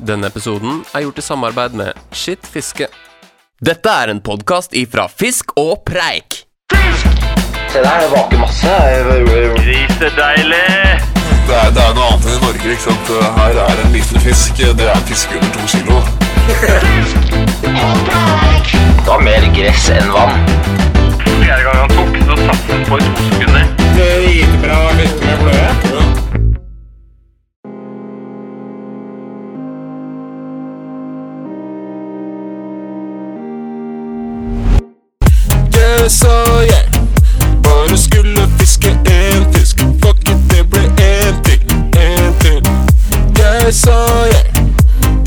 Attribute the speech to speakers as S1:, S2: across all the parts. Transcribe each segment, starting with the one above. S1: Denne episoden er gjort i samarbeid med Skitt fiske. Dette er en podkast ifra Fisk og Preik.
S2: Se der, det vaker masse.
S3: Grisedeilig!
S4: Det er, det er noe annet enn i Norge. ikke sant? Her er en liten fisk. Det er en fisk under to kilo.
S2: Det var mer gress enn vann.
S3: Fjerde gang han tok, så satt han på i to sekunder.
S4: Det sa jeg. Bare skulle fiske én fisk. Fuck it, det ble én til. Én til. Det sa jeg.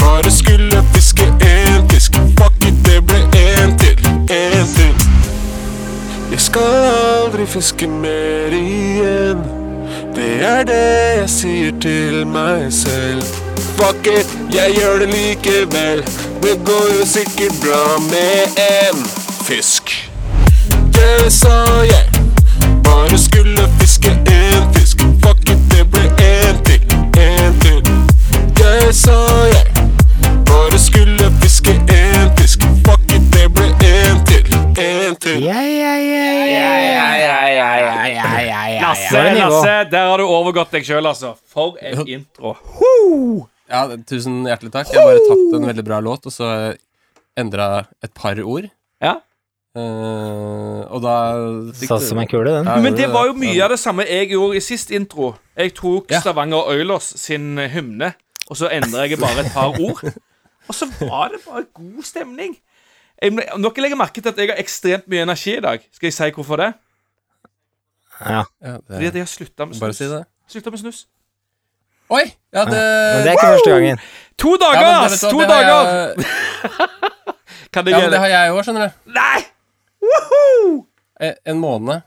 S4: Bare skulle fiske én fisk. Fuck it, det ble én til. Én til. Jeg skal aldri fiske mer igjen. Det er det jeg sier til meg selv. Fuck it, jeg gjør det likevel. Det går jo sikkert bra med en fisk. Det sa jeg. Bare skulle fiske én fisk. Fuck it, det ble én til. Én til. Det sa jeg. Bare skulle fiske én fisk. Fuck it, det ble én til. Én til.
S5: Lasse, Lasse, der har du overgått deg sjøl, altså. For en intro.
S1: Ja, Tusen hjertelig takk. Jeg har bare tatt en veldig bra låt, og så endra et par ord.
S5: Ja.
S1: Eh, og da fikk
S6: Satt som en kule, den.
S1: Ja,
S5: Men det var jo mye av det samme jeg gjorde i sist intro. Jeg tok
S1: Ja.
S5: Stavanger Oilers sin eh, hymne, og så endra jeg bare et par ord. Og så var det bare god stemning. Jeg, om dere legger merke til at jeg har ekstremt mye energi i dag. Skal jeg si hvorfor det?
S1: Ja,
S5: Fordi
S1: det,
S5: at jeg har slutta med
S1: bare si
S5: snus.
S1: det.
S5: Slutta med snus.
S1: Oi! Ja, det,
S6: Men det er ikke første gangen.
S5: To
S1: Ja,
S5: dager,
S1: men det- vet
S5: ass!
S1: du hva,
S5: To
S1: det har
S5: dager!
S1: jeg-
S5: Kan jeg
S1: Ja, men
S5: gjøre
S1: det
S5: det?
S1: har jeg òg, skjønner du.
S5: Nei!
S1: Eh, En måned.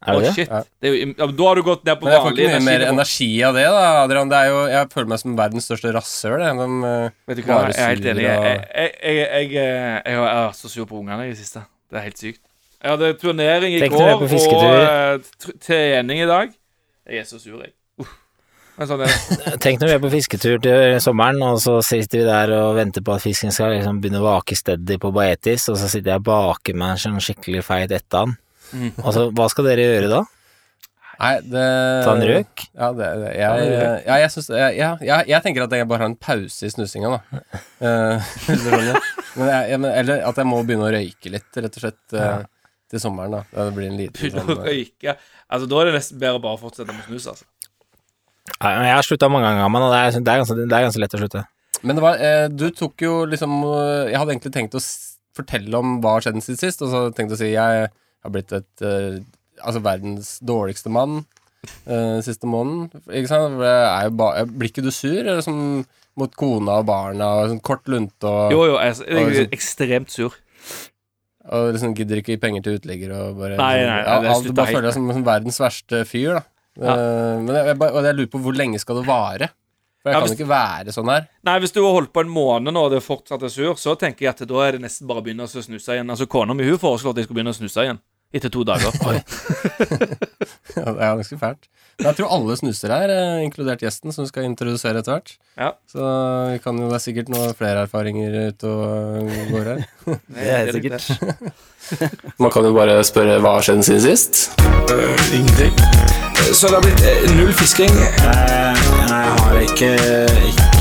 S6: Er
S5: Å,
S6: det det?
S5: shit. Det er jo, im- ja, men da har du gått ned på
S1: Men jeg får
S5: vanlig
S1: ikke mye mer
S5: energi.
S1: energi av det, da, Adrian. Det er jo, jeg føler meg som verdens største rasshøl. jeg, men, eh,
S5: Vet du hva,
S1: bare
S5: jeg er helt
S1: sur
S5: enig. Jeg,
S1: og-
S5: jeg, jeg, jeg, jeg, jeg har vært så sur på ungene i det siste. Det er helt sykt. Jeg hadde turnering i
S6: Tenk
S5: går
S6: dere på
S5: og
S6: fisketur.
S5: eh, tr- trening i dag. Jeg er så sur, jeg. Uff. Men sånn er det.
S6: Tenk når vi er på fisketur til sommeren, og så sitter vi der og venter på at fisken skal liksom begynne å vake steady på Baetis, og så sitter jeg og baker meg en sånn skikkelig feit ettan. Og så, hva skal dere gjøre da?
S1: Nei, det
S6: Ta en røyk?
S1: Ja, det, det, jeg, ja, jeg, syns, jeg, ja, jeg, jeg tenker at jeg bare har en pause i snusinga, da. Eh, Ronja. men jeg, jeg, men, eller at jeg må begynne å røyke litt, rett og slett, eh, til sommeren. da Ja, Det blir en liten
S5: Begynner å
S1: sånn eh,
S5: røyke. Altså, da er det nesten bedre å bare fortsette med snus, altså.
S6: Nei, men Jeg har slutta mange ganger, men det er, det, er ganske, det er ganske lett å slutte.
S1: Men det var, eh, du tok jo liksom eh, Jeg hadde egentlig tenkt å s fortelle om hva har skjedd siden sist, og så tenkte jeg å si jeg har blitt et eh, Altså verdens dårligste mann eh, siste måneden. Ikke sant? For jeg er jo ba blir ikke du sur? Eller som mot kona og barna og sånn kort lunte og
S5: Jo, jo, jeg, jeg,
S1: Ja,
S5: er ekstremt sur.
S1: Og liksom gidder ikke gi penger til utlegger og bare liksom,
S5: Nei, nei,
S1: ja,
S5: det
S1: alt- Du
S5: slutta
S1: bare
S5: helt
S1: føler deg som, som verdens verste fyr, da.
S5: Ja.
S1: Eh, men jeg, jeg, bare- og jeg lurer på hvor lenge skal det vare? For jeg
S5: Ja,
S1: kan
S5: hvis-
S1: ikke være sånn her.
S5: Nei, hvis du har holdt på en måned nå og det fortsatt er sur, så tenker jeg at da er det nesten bare å begynne å snuse igjen. Altså, kona mi hun foreslo at jeg skulle begynne å snuse igjen. Etter to dager.
S1: Ja, det er ganske fælt. Men jeg tror alle snuser her, eh, inkludert gjesten, som vi skal introdusere etter hvert.
S5: Ja.
S1: Så vi kan jo, det er sikkert noen flere erfaringer ute og eh, går her.
S5: Det er helt sikkert.
S1: Man kan jo bare spørre hva har skjedd siden sist?
S7: Eh, Ingenting. Så det har blitt eh, null fisking? Nei, jeg har ikke,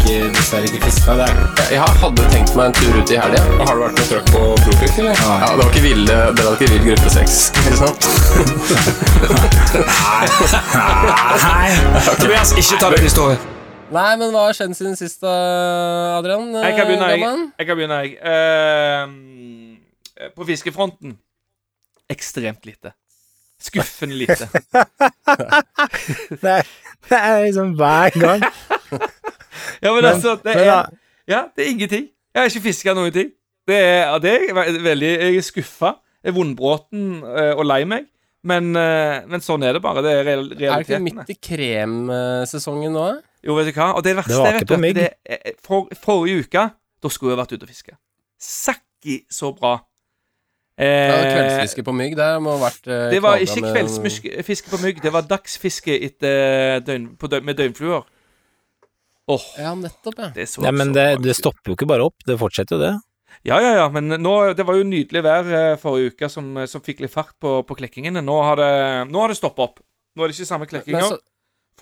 S7: dessverre ikke fiska. Det
S1: Jeg hadde tenkt meg en tur ut i helga. Har du vært med trøkk på Profit, eller? Ja, det var ikke ville, dere hadde ikke vill gruppe seks, ikke sant?
S7: Nei! Tobias, ikke ta det i stå.
S1: Nei, men hva har skjedd siden sist, da, Adrian?
S6: Eh,
S1: Eh,
S5: Jeg kan begynne, jeg.
S1: Gamman?
S5: jeg, kan begynne, jeg. Ehm, på fiskefronten ekstremt lite. Skuffende lite.
S6: Det er, det er liksom hver gang.
S5: Ja, men, altså, det
S6: men da-
S5: er, ja, det er ingenting. Jeg har ikke fiska noen ting. Det er, ja, det er ve- veldig, jeg er skuffa. Jeg er vondbråten eh, og lei meg. Men, eh, men sånn er det bare. Det er real-
S1: Er det ikke
S5: realitetene.
S1: midt i kremsesongen nå? eh?
S5: Jo, vet du hva? Og det verste
S6: Det var
S5: vet du,
S6: ikke på
S5: at
S6: mygg.
S5: det er- er- for, Forrige uke, da skulle jeg vært ute og fiske. Sakki så bra.
S1: Ja,
S5: Eh,
S1: Kveldsfiske på mygg, det må ha vært eh,
S5: Det var
S1: knallbra
S5: ikke
S1: med-
S5: eh, kveldsfiske på mygg, det var dagsfiske etter døgn, på døgn, med døgnfluer. Åh,
S1: Ja, nettopp, ja.
S5: det så
S6: Ja, men
S5: så
S6: det,
S5: bra
S6: det
S5: ut.
S6: stopper jo ikke bare opp, det fortsetter jo det.
S5: Ja, ja, ja, men nå, det var jo nydelig vær eh, forrige uke som, som fikk litt fart på, på klekkingene. Nå har det, nå har det stoppa opp. Nå er det ikke samme
S1: Men
S5: klekkinger,
S1: så,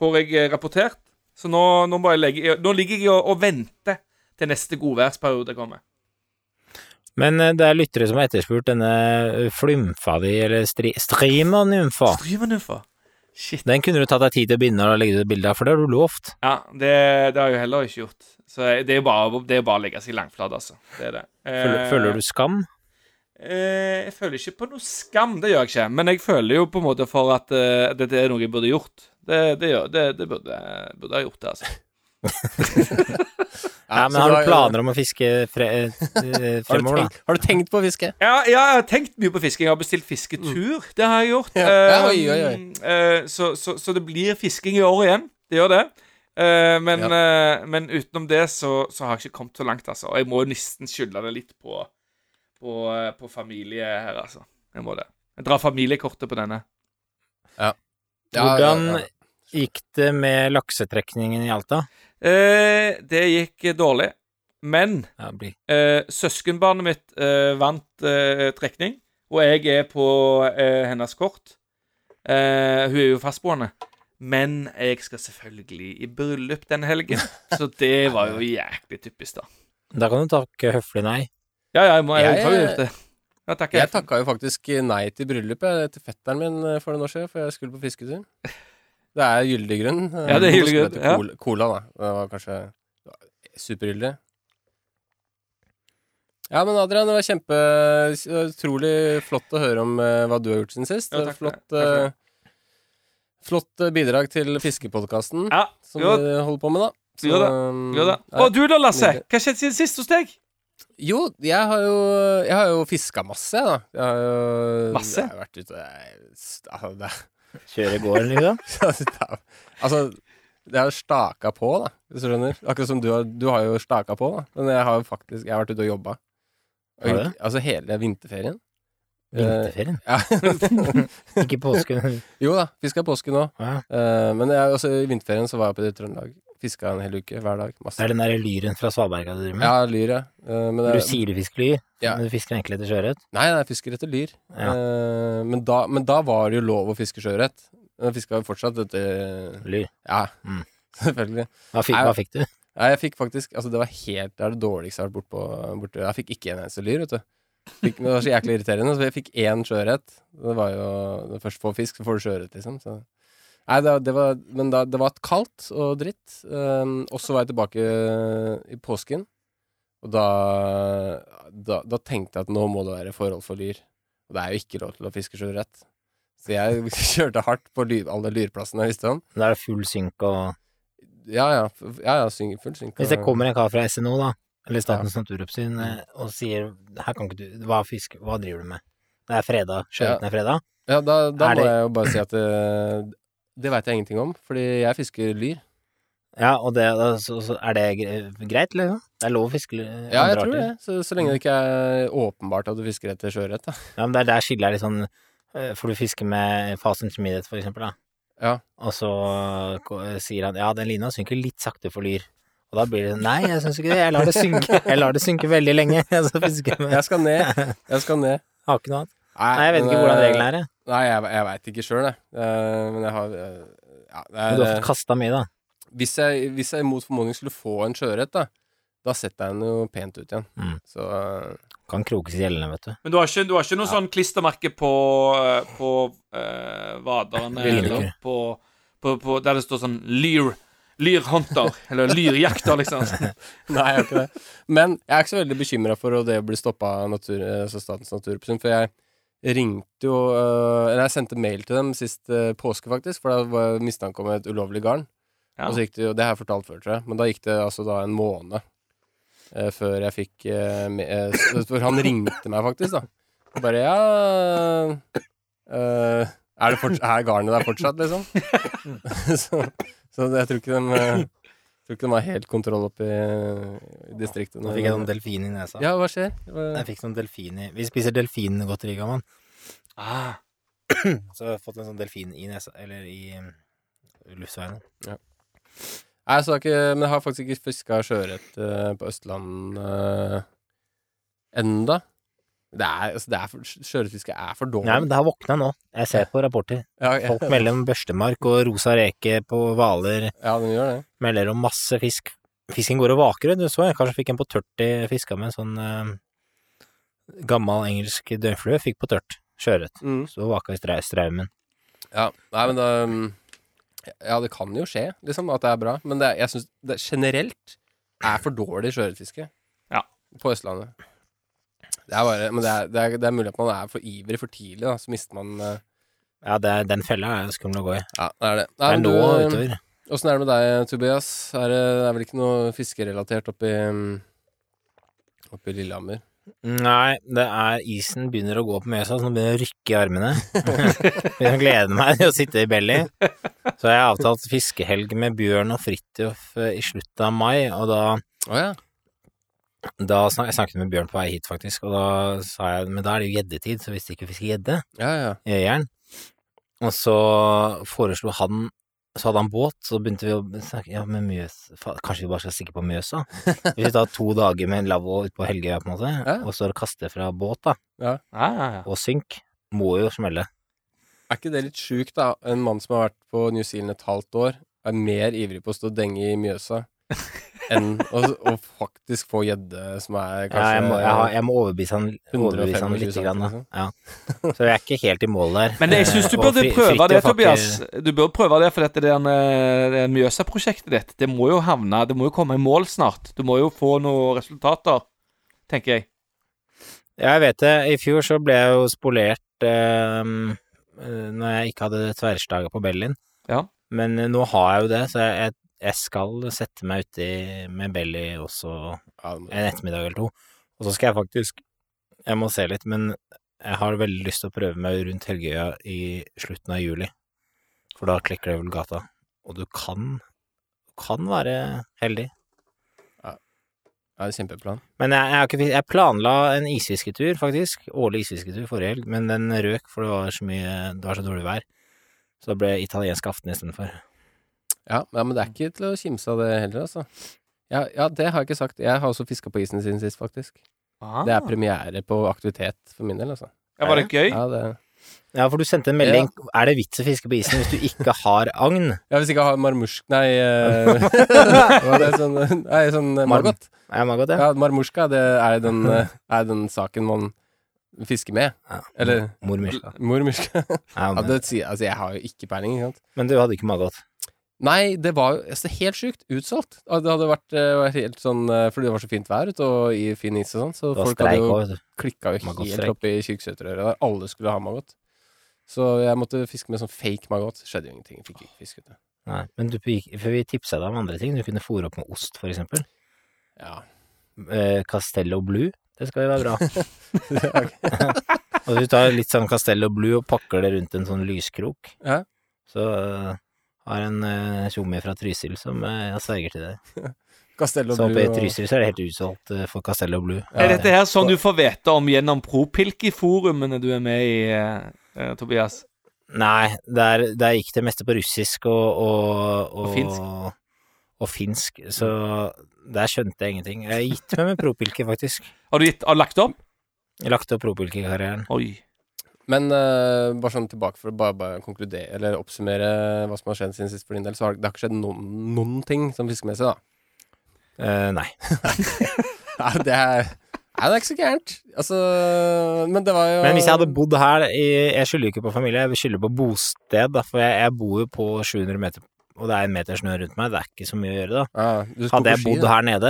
S5: får jeg eh, rapportert. Så nå, nå, må jeg legge, nå ligger jeg og, og venter til neste godværsperiode kommer.
S6: Men eh, det er lyttere som har etterspurt denne eh, flymfa di, eller stri, streamanymfa.
S5: Driver du for? Shit.
S6: Den kunne du tatt deg tid til å binde og legge ut et bilde av, for det har du lovt.
S5: Ja, det, det har jeg jo heller ikke gjort. Så jeg- det er jo bare, det er bare å legge seg langflat, altså. Det er det.
S6: Føler,
S5: Eh,
S6: føler du skam?
S5: Eh, jeg føler ikke på noe skam, det gjør jeg ikke. Men jeg føler jo på en måte for at eh, dette er noe jeg burde gjort. Det, det, gjør- det, det burde, burde jeg gjort, det, altså.
S6: Ja, men
S1: så
S6: har
S1: har
S6: du
S1: jo-
S6: planer om å fiske fre, eh,
S1: har, du
S6: fremover, da?
S1: tenkt, har du tenkt på å fiske?
S5: Ja, ja, jeg har tenkt mye på fisking. Jeg har bestilt fisketur. Det har jeg gjort.
S1: Mm. Ja.
S5: Eh,
S1: Ja, oi, oi, oi.
S5: eh, så, så, så det blir fisking i år igjen. Det gjør det. Eh, men, eh, men utenom det så, så har jeg ikke kommet så langt, altså. Og jeg må jo nesten skylde det litt på, på, eh, på familie her, altså. Jeg må det. Jeg drar familiekortet på denne.
S6: Hvordan
S1: ja, ja.
S6: gikk det med laksetrekningen i Alta?
S5: Eh, det gikk eh, dårlig. Men
S6: Ja, det blir-
S5: eh, søskenbarnet mitt eh, vant eh, trekning, og jeg er på eh, hennes kort. Eh, hun er jo fastboende. Men jeg skal selvfølgelig i bryllup denne helgen, så det var jo jæklig typisk, da.
S6: Da kan du takke høflig nei.
S5: Ja, ja, jeg må jeg,
S1: Jeg-
S5: har jo gjort det. Ja, takk.
S1: Jeg takka jo faktisk nei til bryllupet til fetteren min eh, for noen år siden, for jeg skulle på fisketur. Det er gyldig grunn. eh,
S5: Ja, det er gyldig grunn,
S1: som heter
S5: ja.
S1: Cola, cola, da. Det var kanskje det var supergyldig. Ja, men Adrian, det var kjempe utrolig flott å høre om eh, hva du har gjort siden sist.
S5: Ja,
S1: Det var
S5: takk for det.
S1: flott,
S5: Takk for
S1: eh, flott eh, bidrag til fiskepodkasten
S5: Ja,
S1: som
S5: jo,
S1: du holder på med, da. Så,
S5: Jo da,
S1: um,
S5: jo da.
S1: nei.
S5: Og du da, Lasse?
S1: nydelig.
S5: Hva skjedde siden sist hos deg?
S1: Jo, jeg har jo, jeg har jo fiska masse, jeg, da. Jeg har jo,
S5: Masse?
S1: Jeg har vært ute jeg- st- altså, det,
S6: Kjøre gården, liksom.
S1: er- Altså, jeg har staka på, da, hvis du skjønner. Akkurat som du har, du har jo staka på, da. Men jeg har jo faktisk jeg har vært ute og jobba. Og
S6: Har du
S1: gjort- Altså hele vinterferien. Eh,
S6: Vinterferien.
S1: ja. Eh,
S6: Ikke påsken.
S1: jo da, fiska påske nå.
S6: Ja.
S1: Eh, men jeg, også i vinterferien så var jeg på Trøndelag. Fiska en hel uke hver dag. Masse.
S6: Det er den der lyren fra Svalberga du driver med.
S1: Ja, lyr, ja. Eh, men
S6: Du
S1: det,
S6: sier du fisker lyr,
S1: Ja.
S6: men du fisker egentlig etter sjøørret.
S1: Nei, nei, jeg fisker etter lyr.
S6: Ja.
S1: Eh, men, da, men da var det jo lov å fiske sjøørret. Jeg fiska jo fortsatt etter
S6: Lyr.
S1: Ja,
S6: Mm.
S1: selvfølgelig.
S6: Hva fikk,
S1: Nei.
S6: hva fikk du?
S1: Nei, jeg fikk faktisk Altså, det var helt Det er det dårligste jeg har vært bortpå borte. Jeg fikk ikke en eneste lyr, vet du. Fikk, men det var så jæklig irriterende, så jeg fikk én sjøørret. Det var jo Når du først får fisk, så får du sjøørret, liksom. Så. Nei, det, det var Men da, det var kaldt og dritt. Um, og så var jeg tilbake i påsken, og da, da Da tenkte jeg at nå må det være forhold for lyr. Og det er jo ikke lov til å fiske sjøørret. Så jeg kjørte hardt på ly, alle lyrplassene jeg visste om.
S6: Da er det full synk og
S1: Ja, ja. f- ja, ja syng, full synk.
S6: Hvis det
S1: og-
S6: kommer en kar fra SNO, da, eller Statens naturoppsyn, eh, og sier her kan ikke du Hva, fisk, hva driver du med? Det er fredag. Sjøørreten er fredag.
S1: Ja, da, da
S6: Er
S1: må
S6: det-
S1: jeg jo bare si at det, det veit jeg ingenting om, fordi jeg fisker lyr.
S6: Ja, og det, da- så, så er det gre- greit, liksom? Det er lov å fiske lyr?
S1: Ja, jeg
S6: andre
S1: tror
S6: arter.
S1: det. Så, så
S6: Mm.
S1: lenge det ikke er åpenbart at du fisker etter sjøørret, da.
S6: Ja, men det er der skillet er litt sånn eh, For du fisker med fast intermediate, for eksempel, da.
S1: Ja.
S6: Og så eh, ko- sier han ja, den lina synker litt sakte for lyr. Og da blir det sånn nei, jeg syns ikke det, jeg lar det synke, jeg lar det synke veldig lenge. Og så fisker jeg med
S1: Jeg skal ned. Jeg skal ned. eh,
S6: Har ikke noe annet. Nei, jeg vet ikke hvordan reglene er, jeg.
S1: Nei, jeg, jeg veit ikke sjøl, jeg. Eh, Men jeg har eh, ja, det
S6: Men
S1: er, eh,
S6: du har fått kasta mye, da.
S1: hvis, jeg, hvis jeg mot formodning skulle få en sjøørret, da, da setter jeg den jo pent ut igjen.
S6: Mm.
S1: Så eh,
S6: Kan krokes i gjellene, vet du.
S5: Men du har ikke, du har ikke noe sånn klistremerke på, eh, på eh, vaderne
S6: Lyr
S5: eller
S6: ikke.
S5: på, på, på Der det står sånn lyr. Lyrhunter, eller lyrjakter, liksom.
S1: Nei, jeg har ikke det. Men jeg er ikke så veldig bekymra for å det å bli stoppa av natur, altså Statens naturoppsyn, for jeg ringte jo øh, Eller jeg sendte mail til dem sist øh, påske, faktisk, for da var mistanke om et ulovlig garn.
S5: Ja.
S1: Og så gikk det jo Det har jeg fortalt før, tror jeg, men da gikk det altså da en måned eh, før jeg fikk eh, me- eh, s- For han ringte meg faktisk, da. Og bare ja eh, er, det forts- er garnet der fortsatt, liksom? så, så jeg tror ikke de eh, Tror ikke de har helt kontroll oppe i, i distriktet.
S6: Nå fikk jeg sånn delfin i nesa.
S1: Ja, hva skjer? Hva-
S6: Jeg fikk sånn delfin i Vi spiser delfingodteri, gammel.
S5: Ah,
S6: eh, Så jeg har fått en sånn delfin i nesa, eller i um, luftveien.
S1: Nei, så det er ikke, men jeg har faktisk ikke fiska sjøørret eh, på Østlandet eh, enda. Det er, altså, det er for, sjøørretfiske er for dårlig.
S6: Nei, men det har våkna nå. Jeg ser på rapporter.
S1: ja, ja,
S6: Folk mellom børstemark og rosa reke på Hvaler
S1: ja, den gjør det.
S6: melder om masse fisk. Fisken går og vaker, du så jeg kanskje fikk en på tørt jeg fiska med en sånn eh, gammel engelsk døgnflue. Fikk på tørt sjøørret.
S1: Mm.
S6: Så vaka i strau- straumen.
S1: Ja, nei, men da, um, Ja, det kan jo skje, liksom, at det er bra. Men det er, jeg syns det generelt er for dårlig sjøørretfiske
S5: Ja.
S1: på Østlandet. Det er bare, men det er, det, er, det er mulig at man er for ivrig for tidlig, da. Så mister man eh,
S6: Ja, det er, den fella er jo skummel å gå i.
S1: Ja, det er det.
S6: Det
S1: Nei,
S6: er
S1: men
S6: nå
S1: du,
S6: utover.
S1: Åssen er det med deg, Tobias? Er det, det er vel ikke noe fiskerelatert oppi Oppi Lillehammer?
S6: Nei, det er isen begynner å gå på Mjøsa, så nå begynner jeg å rykke i armene. begynner å glede meg til å sitte i belly. Så jeg har avtalt fiskehelg med Bjørn og Fridtjof eh, i slutten av mai, og da,
S1: Å ja.
S6: da snak, Jeg snakket med Bjørn på vei hit, faktisk, og da sa jeg men da er det jo gjeddetid, så hvis de ikke fisker gjedde,
S1: Ja, ja.
S6: gjøjern, og så foreslo han så hadde han båt, så begynte vi å snakke Ja, men Mjøs fa- Kanskje vi bare skal stikke på Mjøsa? Hvis vi tar to dager med lavvo ute på Helgøya, på en måte,
S1: Ja.
S6: og så kaste fra båt, da
S5: Ja, ja, ah, ja.
S6: og synk må jo smelle.
S1: Er ikke det litt sjukt, da? En mann som har vært på New Zealand et halvt år, er mer ivrig på å stå og denge i Mjøsa enn å, å faktisk få gjedde som er
S6: Ja,
S1: kanskje
S6: jeg, må, jeg, har- jeg må overbevise han, overbevise han
S1: 125
S6: litt. Grann, da.
S1: liksom.
S6: Ja. Så jeg er ikke helt i mål der.
S5: Men jeg
S6: Eh,
S5: syns du
S6: og
S5: burde
S6: Fri-
S5: prøve
S6: Fridtjof
S5: det,
S6: har ikke-
S5: Tobias. Du bør prøve det, for dette det er en, eh, det er en Mjøsa-prosjektet ditt. Det må jo havne Det må jo komme i mål snart. Du må jo få noen resultater, tenker jeg.
S6: Ja, jeg vet det. I fjor så ble jeg jo spolert eh, eh, når jeg ikke hadde tverrstager på Bellin.
S5: Ja.
S6: Men eh, nå har jeg jo det, så jeg, jeg, jeg skal sette meg uti med Belly også
S1: Ja, det må-
S6: en ettermiddag eller to. Og så skal jeg faktisk Jeg må se litt, men jeg har veldig lyst til å prøve meg rundt Helgøya i slutten av juli. For da klikker det vel gata. Og du kan kan være heldig.
S1: ja, det er kjempeplan.
S6: Men jeg, jeg, har ikke, fis- jeg planla en isfisketur, faktisk. Årlig isfisketur forrige helg, men den røk, for det var så mye Det var så dårlig vær. Så det ble italiensk aften istedenfor.
S1: Ja, ja, men det er ikke til å kimse av det heller, altså. Ja, ja, det har jeg ikke sagt. Jeg har også fiska på isen siden sist, faktisk.
S6: Ah.
S1: Det er premiere på aktivitet for min del, altså.
S5: ja, Var det gøy?
S1: Ja, det...
S6: Ja, for du sendte en melding Er det vits å fiske på isen hvis du ikke har agn?
S1: ja hvis ikke jeg har marmusk... Nei, eh, hva er det sånn, nei sånn eh,
S6: Marm.
S1: margot.
S6: Er jeg maggot, ja?
S1: Ja, marmorska, det er den, eh, er den saken man fisker med.
S6: Ja.
S1: Eller
S6: Mormyrska.
S1: mormorska.
S6: Ja,
S1: Ja,
S6: men,
S1: det sier, altså, jeg har jo ikke peiling, ikke sant.
S6: men du hadde ikke maggot?
S1: Nei, det var jo altså, helt sjukt utsolgt. Ja, Det hadde vært eh, var helt sånn eh, Fordi det var så fint vær ute og i fin is og sånn, så
S6: Det var
S1: folk hadde
S6: streik
S1: jo
S6: òg, vet du.
S1: klikka jo helt
S6: Magottstreik.
S1: opp i Kyrksæterøret der. Alle skulle ha maggot. Så jeg måtte fiske med sånn fake maggot. Skjedde jo ingenting. Fikk ikke fisk, vet du.
S6: Nei, men du, gikk- for vi tipsa deg om andre ting. Du kunne fôre opp med ost, for eksempel.
S1: Ja.
S6: Eh, Castello Blue, det skal jo være bra. og du tar litt sånn Castello Blue og pakker det rundt en sånn lyskrok.
S1: Ja.
S6: Så eh, har en eh, tjommi fra Trysil som eh, jeg sverger til deg.
S1: Castello
S6: Så oppe i
S1: og-
S6: Trysil så er det helt utsolgt eh, for Castello Blue.
S5: Er dette her sånn du får vite om gjennom ProPilky-forumene du er med i, eh, eh, Tobias?
S6: Nei, der, der gikk det meste på russisk og Og,
S5: Og finsk.
S6: og finsk, så der skjønte jeg ingenting. Jeg har gitt meg med propilke, faktisk.
S5: Har du gitt, har du lagt opp?
S6: Jeg lagt opp propilkekarrieren.
S1: Mm.
S5: Oi.
S1: Men eh, bare sånn tilbake for å bare, bare konkludere Eller oppsummere hva som har skjedd siden sist for din del, så har det har ikke skjedd noen, noen ting som fiskemessig, da.
S6: Eh, nei.
S1: Nei, det er Nei, det er ikke så gærent. Altså Men det var jo
S6: Men hvis jeg hadde bodd her i, Jeg skylder jo ikke på familie, jeg skylder på bosted, da, for jeg, jeg bor jo på 700 meter, og det er en meter snø rundt meg, det er ikke så mye å gjøre da.
S1: ja, du skulle
S6: Hadde jeg
S1: på ski,
S6: bodd
S1: da.
S6: her nede,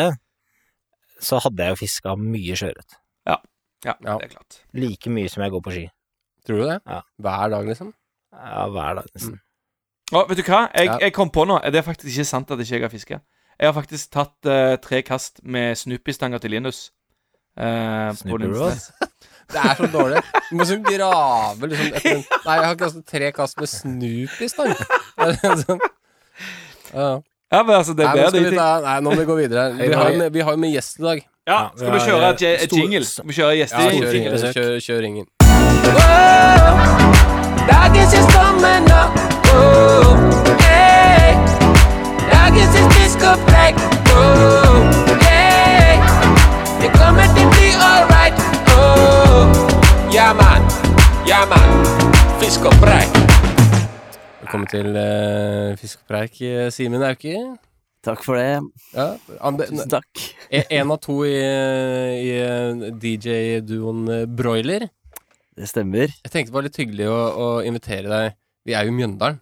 S6: så hadde jeg jo fiska mye sjøørret.
S5: Ja,
S1: Ja.
S5: det er klart.
S6: Like mye som jeg går på ski.
S1: Tror du det?
S6: Ja.
S1: Hver dag, liksom?
S6: Ja, hver dag,
S1: Mm.
S6: nesten.
S5: Å, vet du hva? Jeg,
S1: Ja.
S5: jeg kom på nå. Det er faktisk ikke sant at ikke jeg har fiska. Jeg har faktisk tatt eh, tre kast med Snoopy-stanger til Linus. eh, på
S6: Snoopy
S5: Lindesnes.
S6: Rod?
S1: Det er så dårlig. Du må så grave liksom etter en Nei, jeg har kastet tre kast med snup i stang. Det er sånn. Ja.
S5: Ja, men altså, det
S1: Nei,
S5: er
S1: men
S5: bedre
S1: skal
S5: de
S1: vi
S5: ting.
S1: ta, nei, nå må vi gå videre. her. Vi har jo med, vi har jo med gjest i dag.
S5: Ja,
S6: Ja,
S5: skal vi
S6: vi har,
S5: kjøre
S6: eh,
S5: j-
S6: stor-
S5: jingle? Skal vi kjøre
S1: Ja,
S5: gjester?
S1: kjør,
S5: jingle?
S1: ingen- kjør, kjør ingen.
S8: Dagens is coming up. Oh, hey. Dagens is this just go back. Oh, yeah. You're gonna make me alright. Oh, yeah, man. Yeah, man. Fisk og brei.
S1: Velkommen til eh, Fisk og preik, eh, Simen Auke.
S9: Takk for det.
S1: Ja, han ble-
S9: Tusen takk.
S1: En av to i, i eh, DJ-duoen eh, Broiler.
S9: Det stemmer.
S1: Jeg tenkte det var litt hyggelig å, å invitere deg. Vi er jo i Mjøndalen.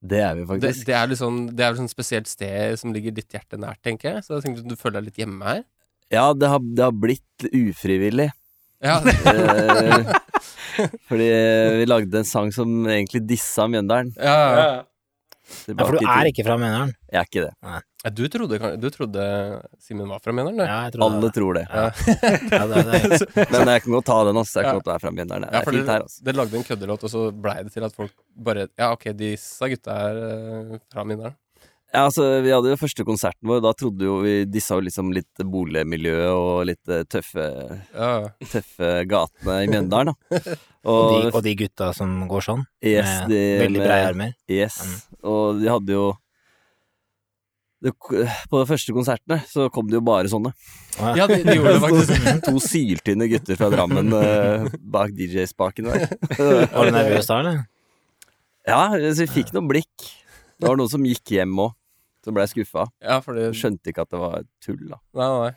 S9: Det er vi
S1: Det,
S9: faktisk.
S1: det er litt sånn, det er et sånn spesielt sted som ligger ditt hjerte nært, tenker jeg. Så jeg tenkte du føler deg litt hjemme her.
S9: Ja, det har, det har blitt ufrivillig.
S1: Ja,
S9: Eh, Fordi Eh, vi lagde en sang som egentlig dissa Mjøndalen.
S1: ja.
S5: Ja.
S6: Ja, for du er ikke fra Mjøndalen?
S9: Jeg er ikke det.
S1: Ja, Du trodde, kan- du trodde Simen var fra Mjøndalen, du?
S6: Ja, jeg tror
S9: Alle
S6: det.
S9: tror det.
S6: Ja, det, er det.
S9: Men jeg kan godt ta den, altså. Jeg
S1: Ja.
S9: kan godt være fra Mjøndalen. Det
S1: Ja,
S9: er
S1: for
S9: fint her,
S1: dere,
S9: altså.
S1: dere lagde en køddelåt, og så blei det til at folk bare Ja, ok, disse gutta er eh, fra Mjøndalen.
S9: Ja, altså, vi hadde jo første konserten vår. Da trodde jo vi dissa jo liksom litt boligmiljøet og litt eh, tøffe,
S1: Ja, ja.
S9: tøffe gatene i Mjøndalen, da.
S6: Og, de,
S9: Og
S6: og de gutta som går sånn,
S9: yes,
S6: med
S9: de
S6: veldig breie armer.
S9: Yes.
S1: Mm.
S9: Og de hadde jo det, På de første konsertene så kom det jo bare sånne.
S1: ja de, de gjorde det faktisk.
S9: to syltynne gutter fra Drammen eh, bak DJ-spaken der.
S6: Var du nervøs da, eller?
S9: Ja, så vi fikk noen blikk. Det var noen som gikk hjem òg, som blei skuffa.
S1: Ja, fordi
S9: Skjønte ikke at det var tull, da.
S1: Nei, nei.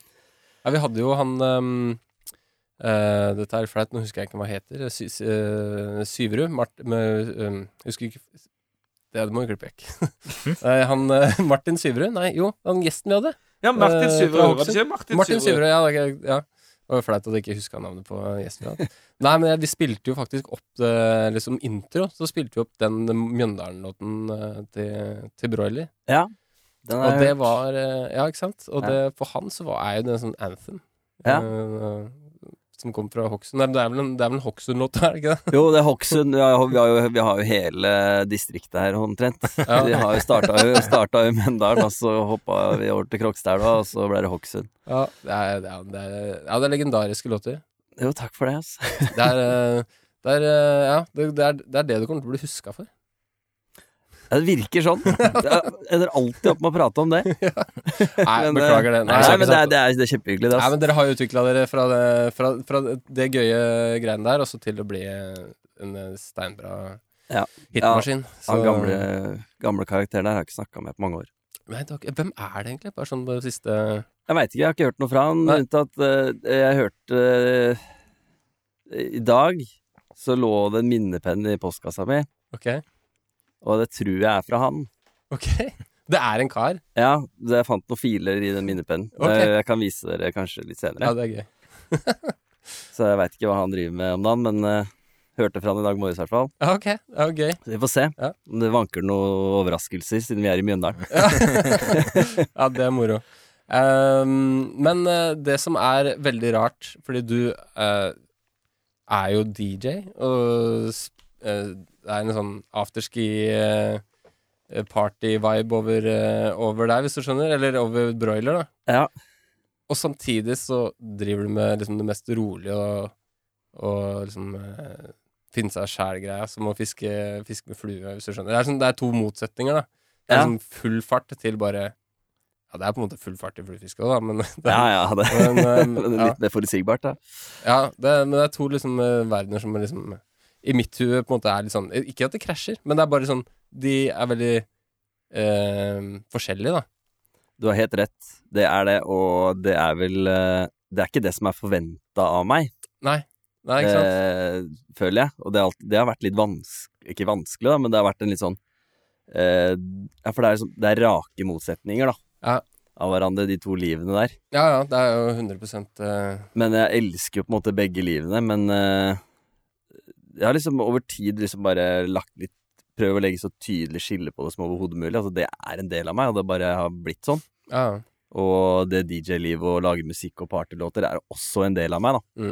S1: Ja, vi hadde jo han ehm, eh, Dette er flaut, nå husker jeg ikke hva han heter. Sy, sy, eh, Syverud. Mart, med, ehm, jeg husker ikke Det, det må vi klippe vekk. Nei, han eh, Martin Syverud? Nei, jo, han gjesten vi hadde.
S5: ja, Martin
S1: Eh,
S5: Syverud.
S1: fra
S5: Var det ikke Martin,
S1: Martin
S5: Syverud?
S1: Syverud, ja. Det, er ikke- ja. Det var jo flaut at jeg ikke huska navnet på gjesten vi hadde. Nei, men de spilte jo faktisk opp det liksom intro. Så spilte vi opp den Mjøndalen-låten eh, til, til Broiler.
S9: Den
S1: Og
S9: er,
S1: det var eh, Ja, ikke sant? Og
S9: Ja.
S1: det, for han så var, er jo det en sånn anthem.
S9: Ja.
S1: eh, som kom fra Hokksund. Nei, men Det er vel en, det er vel en Hokksund-låt, er det ikke det?
S9: Jo, det er Hokksund. Vi, har- vi, har jo- vi har jo hele distriktet her, omtrent.
S1: Ja.
S9: Vi har jo starta, starta i Mjøndalen, og så hoppa vi over til Krokstadelva, og så ble det Hokksund.
S1: Ja, det er, det er, det er, ja, det er legendariske låter.
S9: Jo, takk for det, ass.
S1: Det er, eh, det er, eh, ja, det, det, er, det er det du kommer til å bli huska for.
S9: Ja, det virker sånn. Jeg ender alltid opp med å prate om det.
S1: Nei,
S9: Men, eh,
S1: beklager det. det er
S9: Nei, men
S1: ikke
S9: det er,
S1: sant.
S9: det er, det er kjempehyggelig, det,
S1: Nei,
S9: ass.
S1: men dere har jo utvikla dere fra det, fra, fra det gøye greiene der, og så til å bli en eh, steinbra
S9: Ja.
S1: hitmaskin. Så-
S9: Han gamle, gamle karakteren der har jeg ikke snakka med på mange år.
S1: Nei, takk. Hvem er det egentlig? Bare sånn på det siste
S9: Jeg veit ikke, jeg har ikke hørt noe fra han,
S1: Nei.
S9: unntatt eh, jeg hørte eh, I dag så lå det en minnepenn i postkassa mi,
S1: Ok.
S9: og det tror jeg er fra han.
S1: Ok, det er en kar
S9: Ja, det- jeg fant noen filer i den minnepennen.
S1: Ok.
S9: Eh, Jeg kan vise dere kanskje litt senere.
S1: Ja, det er gøy
S9: Så jeg veit ikke hva han driver med om dagen, men eh, hørte fra han i dag morges i hvert fall.
S1: Ja, ok, ja, gøy
S9: Så vi får se
S1: Ja.
S9: om det vanker noen overraskelser, siden vi er i Mjøndalen.
S1: Ja, det er moro Ehm, Men eh, det som er veldig rart Fordi du eh, er jo DJ Og sp- eh, det er en sånn afterski eh, party-vibe over, eh, over deg, hvis du skjønner Eller over broiler da
S9: Ja.
S1: Og samtidig så driver du med liksom, det mest rolige og, og liksom eh, finne seg sjæl-greia, som å fiske, fiske med flue, hvis du skjønner. Det er, sånn, det er to motsetninger, da. Det er
S9: Ja.
S1: sånn full fart til bare Ja, det er på en måte full fart i fluefiske òg, da, men det,
S9: Ja, ja, det
S1: men, eh,
S9: men det er
S1: ja,
S9: litt mer forutsigbart, da.
S1: ja, det, men det er to liksom eh, verdener som er liksom I mitt hue på en måte er litt sånn Ikke at det krasjer, men det er bare sånn De er veldig eh, forskjellige, da.
S9: Du har helt rett. Det er det, og det er vel eh, Det er ikke det som er forventa av meg,
S1: Nei. Nei, ikke sant?
S9: eh, føler jeg. Og det, er alt, det har vært litt vanskelig Ikke vanskelig, da, men det har vært en litt sånn eh, Ja, for det er, liksom, det er rake motsetninger, da.
S1: Ja.
S9: Av hverandre, de to livene der.
S1: Ja ja, det er jo 100 eh,
S9: Men jeg elsker jo på en måte begge livene, men eh, jeg har liksom over tid liksom bare lagt litt Prøv å legge så tydelig skille på det som overhodet mulig. Altså, det er en del av meg, og det bare har blitt sånn.
S1: ja.
S9: Og det DJ-livet og lage musikk og partylåter er også en del av meg, da.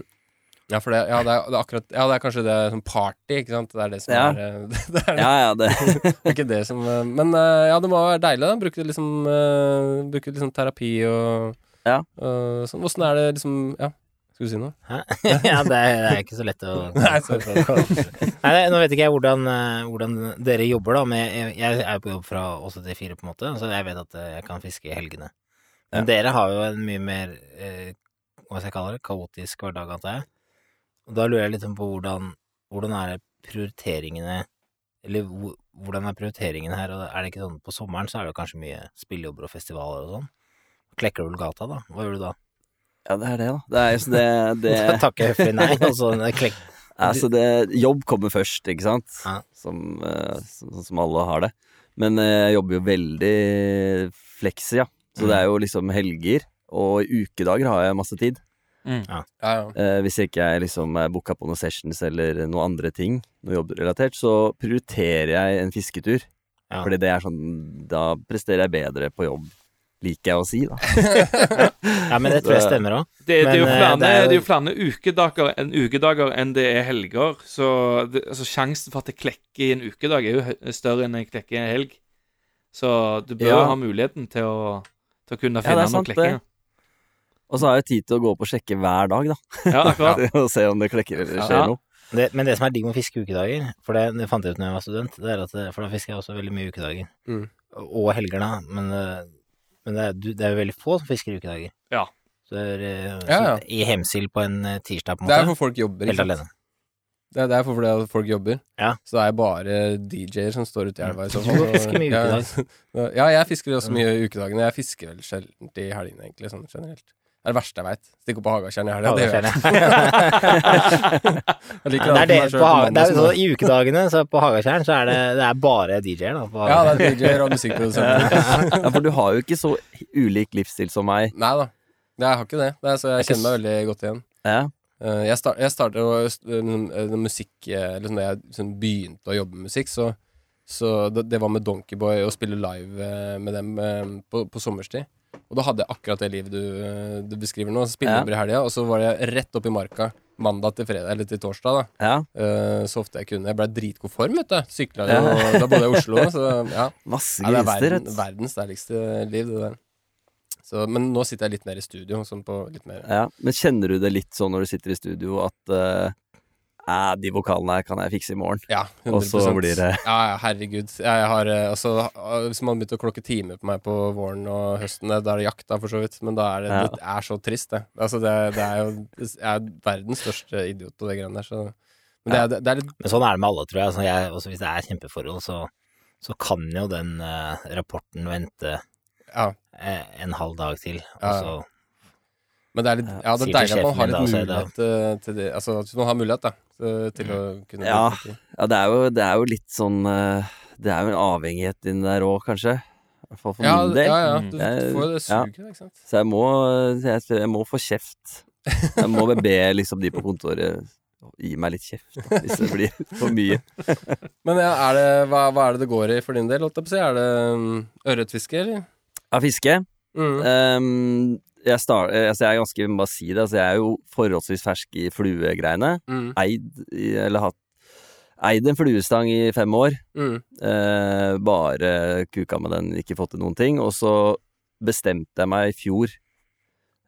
S1: Ja, for det, ja, det, er, det er akkurat Ja, det er kanskje det sånn party, ikke sant? Det er det som
S9: Ja.
S1: er eh, Det er det,
S9: Ja, ja, det
S1: ikke det som eh, Men eh, ja, det må være deilig, da. Bruke liksom, eh, bruke liksom terapi og
S9: Ja.
S1: og sånn. Åssen er det liksom Ja. Skal du si noe?
S6: Hæ? ja, det er, det er ikke så lett å
S1: Nei, sorry for det.
S6: Nei, det- nå vet ikke jeg hvordan, eh, hvordan dere jobber, da, men jeg, jeg er på jobb fra åtte til fire, på en måte, så jeg vet at eh, jeg kan fiske i helgene. Men dere har jo en mye mer eh, hva skal jeg kalle det, kaotisk hverdag, antar jeg. Og da lurer jeg litt sånn på hvordan, hvordan er det prioriteringene Eller hvor- hvordan er prioriteringen her? Og er det ikke sånn på sommeren så er det jo kanskje mye spillejobber og festivaler og sånn? Klekker du vel gata, da? Hva gjør du da?
S9: Ja, det er det, da. Det er, så det, det,
S6: Da takker jeg høflig nei, og så klekk...
S9: altså det, jobb kommer først, ikke sant?
S6: Ja.
S9: Som, eh, så- sånn som alle har det. Men eh, jeg jobber jo veldig fleksi, ja. Så det er jo liksom helger, og i ukedager har jeg masse tid.
S1: Ja, ja.
S9: Eh, hvis ikke jeg liksom er booka på noen sessions eller noen andre ting, noe jobbrelatert, så prioriterer jeg en fisketur.
S6: Ja.
S9: Fordi det er sånn Da presterer jeg bedre på jobb, liker jeg å si, da.
S6: Ja, men det tror jeg stemmer òg.
S5: Det, det, er jo
S6: Men, eh,
S5: flere,
S6: det
S5: det,
S6: er
S5: er
S6: jo-
S5: jo flere ukedager enn ukedager enn det er helger. Så det, altså, sjansen for at det klekker i en ukedag, er jo hø- større enn det klekker i en helg. Så du bør
S9: Ja.
S5: ha muligheten til å, til å kunne
S9: Ja, det
S5: finne
S9: er
S5: noen
S9: sant, det.
S5: klekkinger.
S9: Og så har jeg tid til å gå opp og sjekke hver dag, da.
S5: Ja, akkurat.
S9: og se om det klekker eller skjer
S5: Ja.
S9: noe.
S6: Det, men det som er digg med å fiske ukedager, for det, det fant jeg ut når jeg var student, det er at eh, For da fisker jeg også veldig mye ukedager.
S1: Mm.
S6: Og helger, da. Men, eh, men det, er, du- det er jo veldig få som fisker ukedager.
S5: Ja.
S6: Så det er,
S1: Ja,
S6: eh,
S1: ja.
S6: sånn I Hemsil på en eh, tirsdag, på en
S1: Det er
S6: måte.
S1: for folk jobber. ikke
S6: Helt
S1: sant?
S6: alene.
S1: Det er derfor fordi at folk jobber.
S6: Ja.
S1: Så det er bare DJ-er som står ute i elva i så
S6: Du
S1: fall. og-
S6: fisker mye
S1: ja.
S6: ukedag.
S1: Ja, jeg fisker også mye i ukedagene. Jeg fisker vel sjelden i helgene, egentlig, sånn generelt. Det er det verste jeg veit. Stikke opp på Hagatjern i helga, det gjør jeg. jeg liker
S6: Nei,
S1: alltid
S6: det er det,
S1: meg selv
S6: på,
S1: på
S6: Ha- det
S1: mandag som
S6: er,
S1: er-
S6: jo sånn, I ukedagene så på Hagatjern så er det, det er bare DJ-er, da. På
S1: Ja,
S6: Hagatjern.
S1: det er DJ-er og musikkprodusenter.
S9: Ja, for du har jo ikke så ulik livsstil som meg.
S1: Nei da. Jeg har ikke det. det er, så jeg kjenner meg veldig godt igjen.
S9: Ja.
S1: Eh, Jeg, star jeg startet å eh, når musikk eh, liksom Da jeg liksom begynte å jobbe med musikk, så, så det, det var med Donkeyboy og spille live eh, med dem eh, på, på sommerstid. Og da hadde jeg akkurat det livet du, eh, du beskriver nå. Spillejobber i helga, og så var jeg rett opp i marka mandag til fredag, eller til torsdag, da.
S9: ja.
S1: Eh, så ofte jeg kunne. Jeg blei dritgod form, vet du. Sykla jo, og da bodde jeg i Oslo, så ja.
S9: Masse
S1: Ja, det er
S9: griser,
S1: verden,
S9: vet du.
S1: verdens deiligste liv, det der. Så, men nå sitter jeg litt mer i studio, sånn på litt mer
S9: Ja. Men kjenner du det litt sånn når du sitter i studio at eh, «Eh, de vokalene her kan jeg fikse i morgen.
S1: Ja, 100
S9: Og så blir det-
S1: Ja, ja, herregud. Jeg har, eh, altså, ha- hvis man begynte å klokke timer på meg på våren og høsten, eh, da er det jakt, da, for så vidt. Men da er det,
S9: Ja.
S1: det er så trist, det. Altså, det, det er jo Jeg er verdens største idiot på det greiene der, så Men det er, det er litt
S6: Men sånn er det med alle, tror jeg. Altså, jeg også hvis det er kjempeforhold, så, så kan jo den eh, rapporten vente
S1: Ja.
S6: eh, en halv dag til. Og
S1: Ja, ja.
S6: så
S1: Men det er, litt, ja, det er
S6: sier til
S1: deilig at man
S6: sjefen
S1: har
S6: min
S1: litt
S6: da, så er det-
S1: mulighet eh, til det. Altså, hvis man har mulighet, da, så- til å kunne
S9: Ja.
S1: bruke tid.
S9: Ja, det er jo, det er jo litt sånn eh, Det er jo en avhengighet inni der òg, kanskje. I hvert fall for
S1: Ja,
S9: min del.
S1: ja, ja. Du
S9: Jeg-
S1: får jo det
S9: ja.
S1: suget, ikke sant.
S9: Så jeg må, jeg, jeg må få kjeft. Jeg må be liksom de på kontoret gi meg litt kjeft da, hvis det blir for mye.
S1: Men ja, er det, hva, hva er det det går i for din del? holdt jeg på å si? Er det mm, ørretfiske, eller?
S9: Av fiske
S1: Mm.
S9: ehm, jeg, star, eh, altså jeg er ganske, jeg må bare si det, altså jeg er jo forholdsvis fersk i fluegreiene.
S1: Mm.
S9: Eid, i- eller hatt, eid en fluestang i fem år.
S1: Mm.
S9: Eh, bare kuka med den, ikke fått til noen ting. Og så bestemte jeg meg i fjor,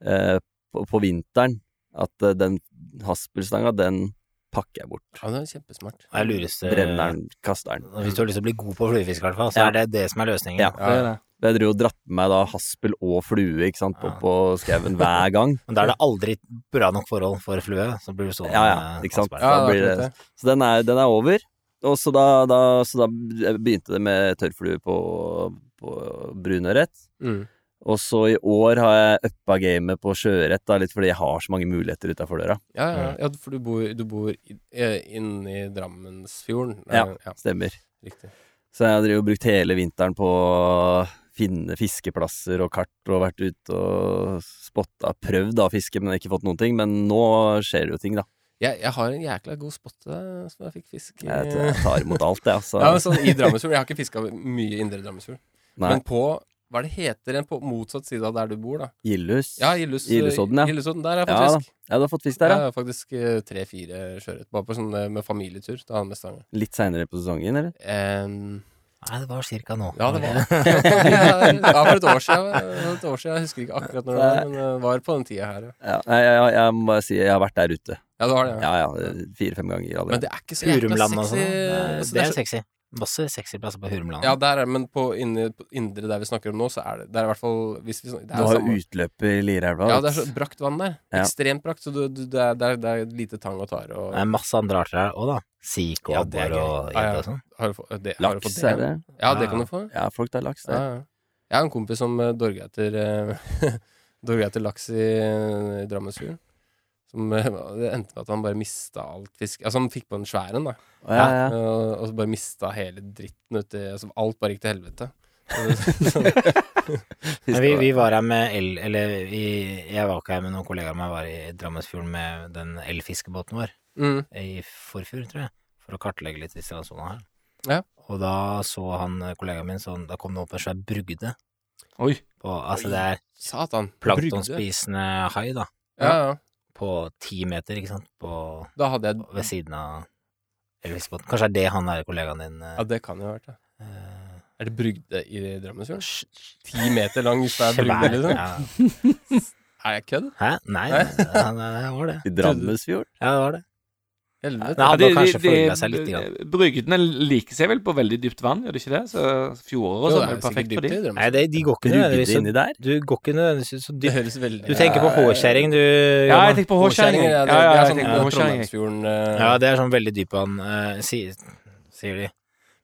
S9: eh, på, på vinteren, at eh, den haspelstanga, den pakker jeg bort.
S1: Ja, det er kjempesmart.
S6: er det lureste
S9: Brenner den, kaster den.
S6: Hvis du har lyst til å bli god på fluefiske, i hvert fall, så
S9: Ja.
S6: er det det som er løsningen.
S9: Ja.
S1: Ja, ja.
S9: Jeg dro og dratt med meg da haspel og flue ikke sant, opp på skauen hver gang.
S6: Men da er det aldri bra nok forhold for flue, så blir du sånn
S9: Ja, ja,
S6: eh,
S9: ikke sant.
S6: Asperger.
S1: Ja,
S9: Da
S1: det
S9: blir
S1: er
S9: det-
S1: akkurat det.
S9: Så den er, den er over. Og så da, da, så da begynte det med tørrflue på, på brunørret.
S1: Mm.
S9: Og så i år har jeg uppa gamet på sjøørret, da, litt fordi jeg har så mange muligheter utafor døra.
S1: Ja, ja, ja, for du bor, du bor i- eh, inni Drammensfjorden. Eh,
S9: Ja. Stemmer.
S1: riktig.
S9: Så jeg har drevet og brukt hele vinteren på å finne fiskeplasser og kart og vært ute og spotta. Prøvd da å fiske, men ikke fått noen ting. Men nå skjer det jo ting, da.
S1: Jeg, jeg har en jækla god spot eh, som jeg fikk fisk i.
S9: Jeg vet- jeg tar imot alt, jeg, altså.
S1: Ja, men sånn I Drammensfjorden. Jeg har ikke fiska mye i indre Drammensfjord.
S9: Nei.
S1: Men på hva er det heter en på motsatt side av der du bor, da?
S9: Gillus.
S1: Ja, Gillus-
S9: Gillesodden, ja.
S1: Gillesodden, Der har jeg
S9: Ja,
S1: fått
S9: da.
S1: fisk.
S9: Ja, du har fått fisk
S1: Der,
S9: der,
S1: Jeg
S9: ja?
S1: har faktisk eh, tre-fire sjøørret. Bare på sånn eh, med familietur. Da har han med stang.
S9: Litt seinere på sesongen, eller?
S1: Em,
S6: Nei, det var cirka nå.
S1: Ja, det var det. Ja, for et år siden. Et år siden. Jeg husker ikke akkurat når det var, men det var på den tida her. ja.
S9: Ja, nei, jeg, jeg, jeg må bare si jeg har vært der ute.
S1: Ja, det var det. Ja.
S9: Ja, ja, Fire-fem ganger
S1: Men
S9: allerede.
S1: det er ikke så jækla
S6: Hurumland og
S1: sexy.
S6: sånn.
S1: altså,
S6: Det
S1: det er
S6: er
S1: så-
S6: sexy. Masse sexy plasser på Hurumland.
S1: Ja, der er men på inni- på indre der vi snakker om nå, så er det Det er i hvert fall hvis vi snakker, det er
S9: Du har
S1: samme-
S9: jo utløp i Lierelva.
S1: Ja, det er
S9: vet du.
S1: så brakt vann der.
S9: Ja.
S1: Ekstremt brakt, så du, du, det, er, det, er, det er lite tang og tare. Og,
S6: Det er masse andre arter her òg, da. Sik og
S1: Ja, det er
S6: abbor
S1: gøy.
S6: og
S1: Ja, ja.
S6: gjedde og sånn.
S1: har du, få- det, har du
S9: Laks,
S1: fått
S9: er det?
S1: Ja, det kan du få.
S9: Ja, folk tar laks
S1: Ja,
S9: der.
S1: ja. Jeg har en kompis som eh, dorga etter eh, Dorga etter laks i, i Drammensfjorden. Som eh, Det endte med at han bare mista alt fisk Altså, han fikk på en svær en, da. Eh,
S9: Å, Ja, ja.
S1: Og, og så bare mista hele dritten uti altså, Alt bare gikk til helvete.
S6: Men vi, vi var her med el... Eller vi, jeg var ikke her med noen kollegaer av meg, var i Drammensfjorden med den elfiskebåten vår
S1: Mm.
S6: i forfjor, tror jeg, for å kartlegge litt i strandsona her.
S1: Ja.
S6: Og da så han eh, kollegaen min sånn Da kom det opp en svær brugde.
S5: Oi.
S6: På, altså det er
S1: Satan. Brugde.
S6: planktonspisende hai, da.
S1: Ja, ja.
S6: På ti meter, ikke sant. På,
S1: Da hadde jeg
S6: ved siden av elfiskebåten. Kanskje det er det han der kollegaen din eh,
S1: Ja, det kan jo ha vært det.
S6: eh,
S1: Er det brugde i Drammensfjorden?
S6: sj-
S1: Ti meter lang svær brugde,
S6: Svær.
S1: liksom?
S6: Ja.
S1: Er jeg kødd?
S6: Hæ? Nei,
S1: Nei.
S6: nei, nei, nei, det var det.
S9: I Drammensfjord.
S6: Ja, det var det.
S1: Helvete.
S6: Det hadde
S5: Ja,
S6: jo
S5: de-
S6: kanskje
S5: de-
S6: forhullet seg litt. Grann.
S5: de- Brygdene liker seg vel på veldig dypt vann, gjør de ikke det? Så fjorder
S1: Jo, det
S5: og sånn er
S1: er
S5: jo
S1: sikkert
S5: perfekt for
S1: dypt i
S5: de.
S1: Drammen.
S6: Nei, det, liksom- de går ikke
S9: Brugde
S6: nødvendigvis så
S9: inni der.
S6: Du går ikke nødvendigvis så
S1: Det
S6: dypt.
S1: høres veldig
S6: Du tenker på håkjerring, du.
S5: Ja,
S6: Jonas.
S5: jeg tenker på håkjerringer.
S1: Ja,
S5: Ja,
S1: det,
S5: ja,
S1: det er
S5: jeg
S1: sånn
S5: tenker på håkjerringer.
S1: Trondheimsfjorden eh,
S6: Ja, det er sånn veldig dyp vann, eh, si, sier de.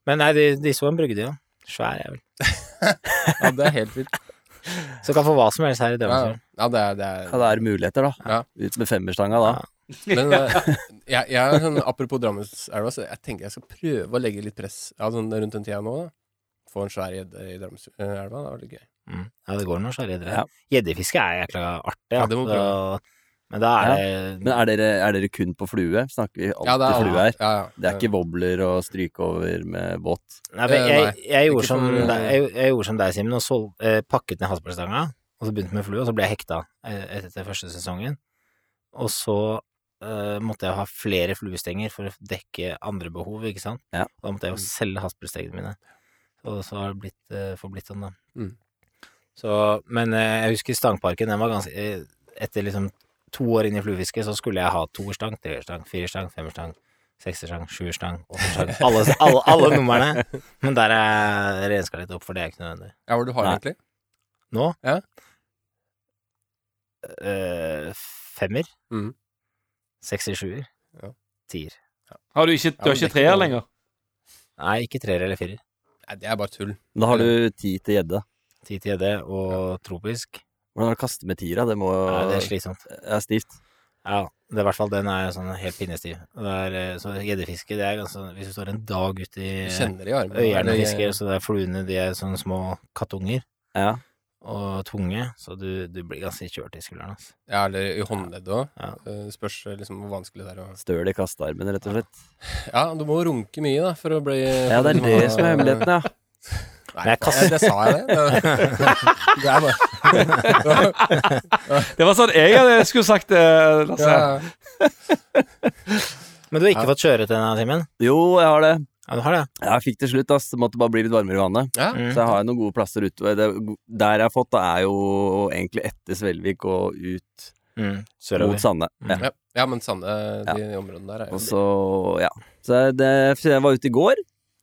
S6: Men nei, de, de så en brygde, ja. Svær jævel.
S1: ja, det er helt vilt.
S6: Så kan få hva som helst her i
S1: Ja,
S6: Drammensfjorden.
S1: ja det er, det er.
S9: Ja, det er muligheter, da.
S1: Ja.
S9: Ut med femmerstanga, da.
S6: Ja.
S1: Men eh, jeg, jeg er sånn, apropos Drammenselva, så jeg tenker jeg skal prøve å legge litt press ja, sånn rundt den tida nå. da. Få en svær gjedde i Drammenselva, det var litt gøy.
S6: Mm. Ja, det går noen svære gjedder.
S9: Ja.
S6: Gjeddefiske er jækla artig.
S1: Ja, det må
S6: altså. Men da er
S9: Men
S6: det
S9: er dere, er dere kun på flue? Snakker vi alltid
S1: Ja, det er,
S9: flue her?
S1: Ja, ja.
S9: Det er ikke wobbler og stryke over med båt.
S6: Nei, men
S1: Eh,
S6: jeg,
S1: nei.
S6: jeg, gjorde
S1: Ikke
S6: som
S1: for- eh,
S6: deg, jeg, jeg gjorde som deg, Simen, og sol, eh, pakket ned hasballstanga, og så begynte med flue, og så ble jeg hekta eh, etter første sesongen. Og så eh, måtte jeg ha flere fluestenger for å dekke andre behov, ikke sant?
S9: Ja.
S6: Og da måtte jeg jo
S1: Mm.
S6: selge hasballstengene mine. Og så har det blitt, eh, forblitt sånn, da.
S1: Mm.
S6: Så, men eh, jeg husker Stangparken, den var ganske eh, Etter liksom to år inn i fluefiske, så skulle jeg ha toerstang, treerstang, firerstang, femmerstang, sekserstang, sjuerstang, åtterstang Alle, alle, alle numrene. Men der er jeg renska litt opp, for det er ikke nødvendig.
S1: Ja, hvor du har
S9: Nei.
S1: egentlig?
S6: Nå
S1: Ja.
S6: eh, Femmer.
S1: Mhm.
S6: Sekser, sjuer.
S1: Ja.
S6: Tier.
S5: Har du ikke, du
S1: men
S5: har ikke
S1: det er ikke
S5: treer
S1: noe-
S5: lenger?
S6: Nei, ikke treer eller firer.
S1: Nei, det er bare tull.
S9: Men da har du ti til gjedde.
S6: Ti til gjedde og tropisk.
S9: Hvordan er det å kaste med tira? Det må
S6: Nei, det er slitsomt.
S9: er stivt.
S6: Ja, det er i hvert fall den er sånn helt pinnestiv. Og Det er, eh, så gjeddefiske, det er ganske sånn, Hvis du står en dag ute i
S1: Du
S9: Eh,
S1: kjenner det i armen.
S6: øyene og
S1: Eller-
S6: fisker, så det er fluene, de er sånne små kattunger
S9: Ja.
S6: og tunge, så du, du blir ganske kjørt i skulderen, altså.
S1: Ja, eller i håndleddet òg.
S6: Ja.
S1: Spørs eh, liksom hvor vanskelig det er å
S9: Støl i kastearmen, rett og slett.
S1: Ja, du må runke mye, da, for å bli
S9: Ja, det er det som er hemmeligheten, ja.
S1: Nei,
S6: Men jeg
S1: faen, det sa jeg, det. Det er bare
S5: Det var sånn jeg hadde skulle sagt det, Lasse.
S9: Altså,
S1: ja.
S6: Men du har ikke fått kjøre til denne timen?
S9: Jo, jeg har det.
S6: Ja, du har det?
S9: Jeg fikk til slutt, ass. Det måtte bare bli litt varmere i vannet.
S1: Ja.
S6: Mm.
S9: Så jeg har jo noen gode plasser ute. Det, der jeg har fått, da er jo egentlig etter Svelvik og ut
S6: Mm.
S9: mot Sande. Ja.
S1: Ja. ja, men Sande, de områdene der er jo
S9: Og så, ja. Så det, så jeg var ute i går.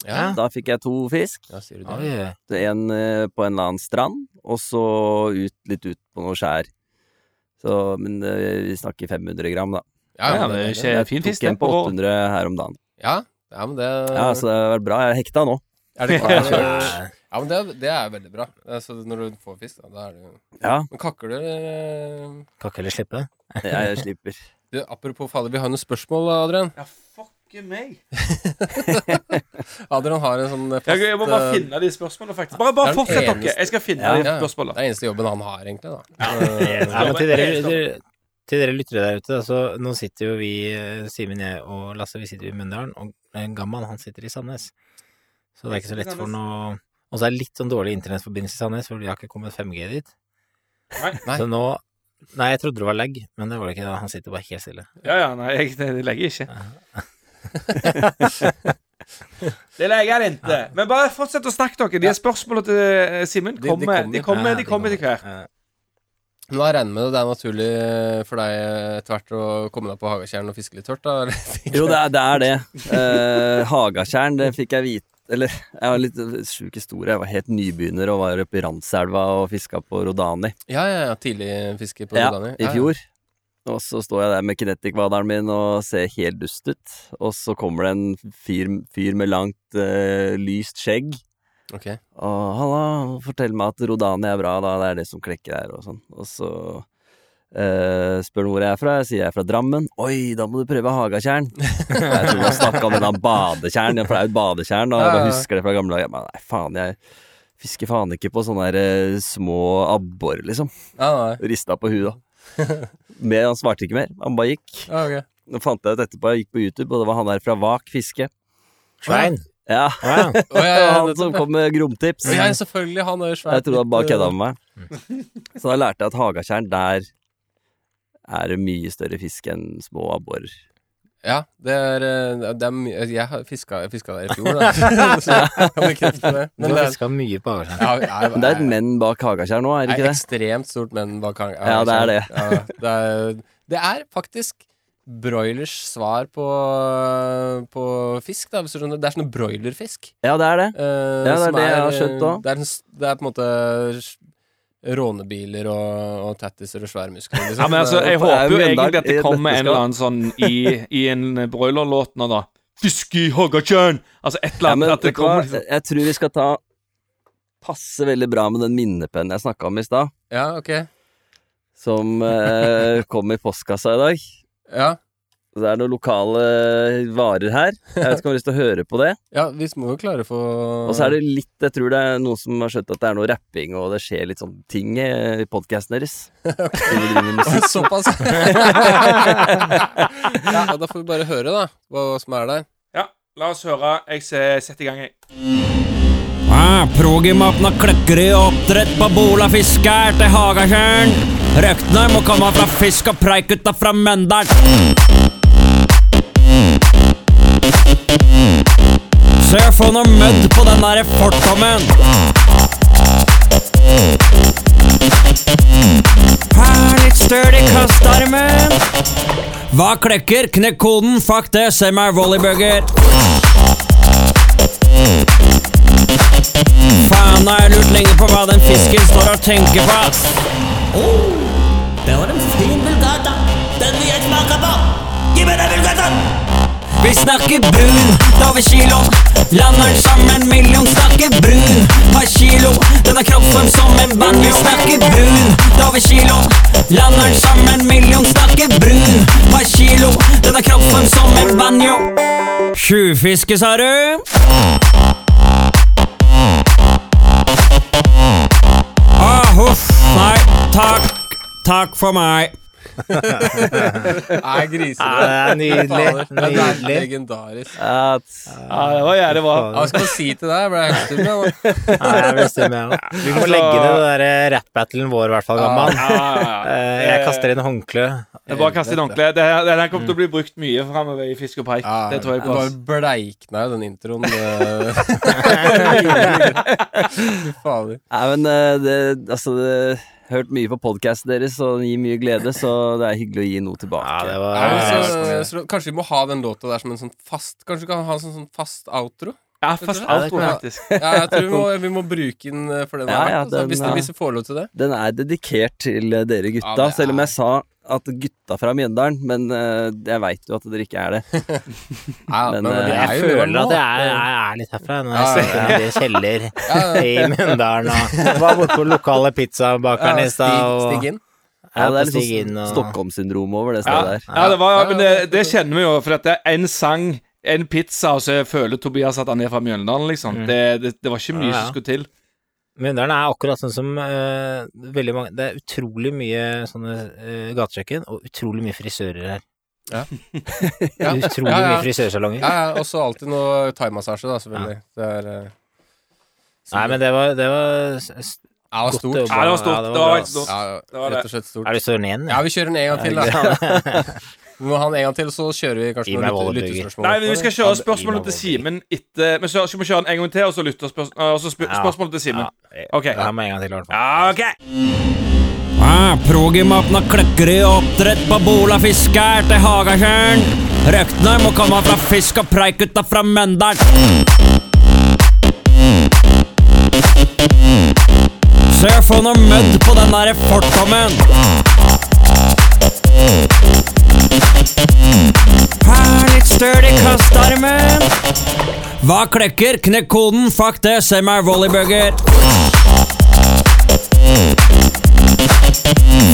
S1: Ja.
S9: Da fikk jeg to fisk.
S1: ja, sier du
S6: Oi,
S1: det?
S6: oi, oi.
S9: Det er En eh, på en eller annen strand, og så ut, litt ut på noe skjær. Så, men eh, vi snakker 500 gram, da.
S1: Ja,
S5: Ja,
S1: men
S5: det er
S1: det-
S5: ikke-
S9: Jeg
S5: fin fisk,
S9: tok en
S5: det,
S9: på
S5: på vår.
S9: 800 her om dagen.
S1: Ja, ja men det
S9: Ja, altså, Så det har vært bra. Jeg er hekta nå.
S1: Er det
S6: Ja,
S1: klart?
S6: det
S1: ja,
S6: er-
S1: men det, det er veldig bra. Altså, når du får fisk, da, da er det jo
S9: Ja,
S1: Men kakker du eh,
S6: Kan ikke heller slippe.
S9: jeg slipper.
S1: du, Apropos fader, vi har jo noen spørsmål, Adrian.
S5: Ja, fuck meg.
S1: Adrian har en sånn eh, fast
S5: Jeg, jeg må bare
S1: eh,
S5: finne de spørsmålene, faktisk. Bare,
S1: Det
S5: bare
S1: er den
S5: fortsett dere.
S1: eneste-
S5: Jeg skal finne
S1: ja,
S5: de
S1: ja. Det
S5: spørsmålene.
S1: er eneste jobben han har, egentlig. da Eh,
S6: Nei, men til dere, dere- til dere lyttere der ute, da, så nå sitter jo vi, eh, Simen, jeg og Lasse, vi sitter i Mjøndalen, og eh, Gamman, han sitter i Sandnes. Så det er ikke så lett for han å Og så er det litt sånn dårlig internettforbindelse i Sandnes, for de har ikke kommet 5G dit.
S1: Nei.
S6: Så nå Nei, jeg trodde det var lag, men det var det ikke. da. Han sitter bare helt stille.
S5: Ja, ja, nei, jeg, det legger jeg ikke. Det leker jeg ikke. Men bare fortsett å snakke, dere. De spørsmålene til eh, Simen
S1: De- de
S5: kommer.
S1: kommer.
S5: De kommer, de kommer etter hvert.
S6: Ja.
S1: Nå har jeg regnet med det. Det er naturlig eh, for deg etter hvert å komme deg på Hagatjern og fiske litt tørt, da?
S9: Jo, det er det. Er det. Eh, Hagatjern, det fikk jeg vite Eller, jeg har en litt sjuk historie. Jeg var helt nybegynner og var oppe i Randselva og fiska på Rodani.
S1: Ja, ja, ja. Tidlig fiske på
S9: Ja,
S1: Rodani.
S9: i fjor. Og så står jeg der med kinetic-vaderen min og ser helt dust ut. Og så kommer det en fyr, fyr med langt, eh, lyst skjegg.
S1: Ok.
S9: Og halla, fortell meg at Rodani er bra, da. Det er det som klekker her, og sånn. Og så eh, spør han hvor jeg er fra. Jeg sier jeg er fra Drammen. Oi, da må du prøve Hagatjern. jeg tror han snakka om denne badetjern, for det er jo et badetjern, da. Og
S1: Ja, ja,
S9: da
S1: ja.
S9: husker jeg det fra gamle dager. Jeg bare, Nei, faen, jeg fisker faen ikke på sånne der, eh, små abbor, liksom.
S1: Ja, nei.
S9: Rista på huet, da. Men han svarte ikke mer. Han bare gikk.
S1: Ja, ok.
S9: Nå fant jeg ut etterpå, jeg gikk på YouTube, og det var han der fra Vak fiske.
S6: Svein?
S9: Ja,
S6: Ja. ja.
S1: Å, ja,
S9: det
S1: ja,
S9: var han
S1: nettopp,
S9: som
S1: ja.
S9: kom med gromtips.
S1: Å, ja, selvfølgelig. Han er jo svært
S9: Mm. Jeg trodde han bare
S1: litt, eh,
S9: kødda med meg. Så da lærte jeg at hagatjern, der er det mye større fisk enn små abborer.
S1: Ja, det er, eh, det er mye Jeg har fiska, jeg fiska der i fjor, da. Så jeg kan bekrefte det.
S6: Du
S1: Men det
S6: har
S1: er,
S6: fiska mye på Hagatjern.
S1: ja, jeg,
S9: Men det er et menn bak hagatjern nå, er det ikke det?
S1: ekstremt stort menn bak hang-
S9: Ja, det er det.
S1: Ja, det, er, det er faktisk broilers svar på, på fisk, da, hvis du skjønner. Det er sånne broilerfisk.
S9: Ja, det er det.
S1: eh,
S9: det er
S1: som
S9: det jeg har skjønt da.
S1: Det er, en s- det er på en måte s- rånebiler og, og tattiser og svære muskler. Liksom.
S5: Ja, men altså, jeg
S9: Det er jo
S5: håper jo
S9: Mjøndalen
S5: egentlig at det
S9: i et
S5: kommer en
S9: nøtteskall.
S5: eller annen sånn i, i en broilerlåt nå, da. Fiske i Hagatjørn! Altså et eller
S9: Ja,
S5: annet.
S9: men
S5: at det
S9: vet du hva,
S5: kommer liksom-
S9: jeg tror vi skal ta Passe veldig bra med den minnepennen jeg snakka om i stad,
S1: ja, ok.
S9: som eh, kom i postkassa i dag.
S1: Ja.
S9: Det er noen lokale eh, varer her. Jeg vet ikke om du har lyst til å høre på det.
S1: ja, vi må jo klare å få
S9: Og så er det litt Jeg tror det er noen som har skjønt at det er noe rapping, og det skjer litt sånn ting eh, i podkasten deres. Som vi driver med musikk.
S1: Såpass. ja, da får vi bare høre, da, hva som er der.
S5: Ja, la oss høre. Jeg se- setter i gang, jeg.
S10: Ah, Progimaten har kløkkeri og oppdrett på Bola fisker til Hagatjern. Røktene må komme fra fisk og preik ut fra Møndalen. Se, få noe mødd på den derre fortommen. Her, litt støl i kastearmen. Hva klekker? Knekk koden, fuck det, se meg volleybugger. Faen, har jeg lurt lenge på hva den fisken står og tenker på, ass. Oh, det var en fin vulgata. Den vil jeg smake på. Gi meg den vulgataen! Vi snakker brun, da har vi kilo. Lander den som en million. Snakker brun, har kilo. Den har kroppsform som en banjo. Snakker brun, da har vi kilo. Lander den som en million. Snakker brun, har kilo. Den har kroppsform som en banjo. Tjuvfiske, sa du? Ah, huff. Nei, takk. Takk for meg.
S1: Nei, griser.
S6: det er nydelig.
S1: Det er
S6: Nydelig.
S1: legendarisk.
S9: At-
S5: Ja, det var jævlig bra.
S1: Hva skal man si til deg? Jeg ble helt stum, jeg nå.
S6: Nei, jeg bestemmer meg også. Vi må legge ned den der rap-battlen vår, i hvert fall, gammal.
S5: Ja, ja, ja.
S6: Eh, Jeg kaster inn håndkle.
S5: Det er bare å kaste inn håndkle. Det her, det her kommer til å bli brukt mye framover i Fisk og Preik.
S1: Ja,
S5: det tror jeg
S1: det
S5: på.
S1: bare
S5: ass.
S1: bleikna jo den introen. det- Fy Fader.
S9: Nei, men eh, det Altså, det Hørt mye på podkasten deres, og den gir mye glede, så det er hyggelig å gi noe tilbake.
S6: Ja, det
S1: Ja, men
S6: var
S1: så, så, kanskje vi må ha den låta der som en sånn fast Kanskje vi kan ha en sånn, sånn fast outro?
S5: Ja, fast
S1: Ja,
S6: det
S5: outro,
S6: kan jeg.
S5: faktisk.
S1: Ja, jeg tror vi må, vi må bruke den eh, for den.
S9: Ja,
S1: her,
S9: ja,
S1: altså,
S9: den,
S1: hvis,
S9: ja.
S1: hvis vi får lov til det.
S9: Den er dedikert til eh, dere
S1: Ja,
S9: gutta,
S1: det
S9: selv om
S1: er-
S9: jeg sa at gutta fra Mjøndalen, men eh, jeg veit jo at dere ikke er det.
S1: Ja,
S9: Men,
S1: men,
S9: eh,
S1: det er
S6: jeg
S1: jo det
S6: føler
S1: nå.
S6: at jeg er, jeg er litt herfra når
S1: Ja, ja,
S6: jeg sitter nede i kjeller
S1: Ja, ja.
S6: i Mjøndalen og var borte på lokale pizzabakeren i
S1: Ja,
S6: stad
S1: stig,
S6: og
S1: stig inn.
S9: Ja, det
S1: liksom
S9: er
S6: Stig
S9: litt sånn
S6: inn og-
S9: Stockholm-syndrom over det
S5: Ja,
S9: stedet der.
S5: ja, det var, men det, det kjenner vi jo, for at det er én sang, en pizza, og så føler Tobias at han er fra Mjøndalen, liksom. Det, det, det var ikke mye
S6: Ja, ja.
S5: som skulle til.
S6: Mjøndalen er akkurat sånn som eh, veldig mange Det er utrolig mye sånne eh, gatekjøkken og utrolig mye frisører her.
S1: Ja.
S6: Utrolig
S1: Ja, ja.
S6: mye frisørsalonger.
S1: Ja, ja, og så alltid noe thaimassasje, da, selvfølgelig. Det er eh,
S6: Nei, men det var, det var s- s-
S1: ja, det var
S6: godt eh,
S1: stort.
S6: jobba.
S5: Ja, det var stort. Det var
S6: bra,
S5: faktisk
S6: ass.
S5: stort.
S1: Ja,
S5: Det var det.
S1: rett og slett stort.
S6: Er du søren igjen?
S1: Ja, vi kjører den en gang til, da. Vi må ha den en gang til, så kjører vi
S6: Gi
S1: kanskje
S6: meg
S1: noen lytte-
S6: Wallebygger.
S1: lyttespørsmål.
S5: Nei, men vi skal kjøre
S6: Ja,
S5: spørsmålet
S6: det-
S5: til Simen etter Men så skal vi kjøre den en gang til, og så lytter spørs- og så spør,
S6: Ja.
S5: spørsmålet til Simen.
S6: Ja,
S5: Ok.
S6: Det her må en gang til, i hvert fall.
S5: Ja, OK.
S10: Ah, Progimaten av Kløkkerud oppdrett på Bola fisker til Hagatjørn. Røktene må komme fra fisk og preik gutta fra Møndalen. Så jeg får noe mødd på den derre fortommen. Her, litt støl i kastarmen. Hva klekker? Knekk koden, fuck det, send meg volleybugger.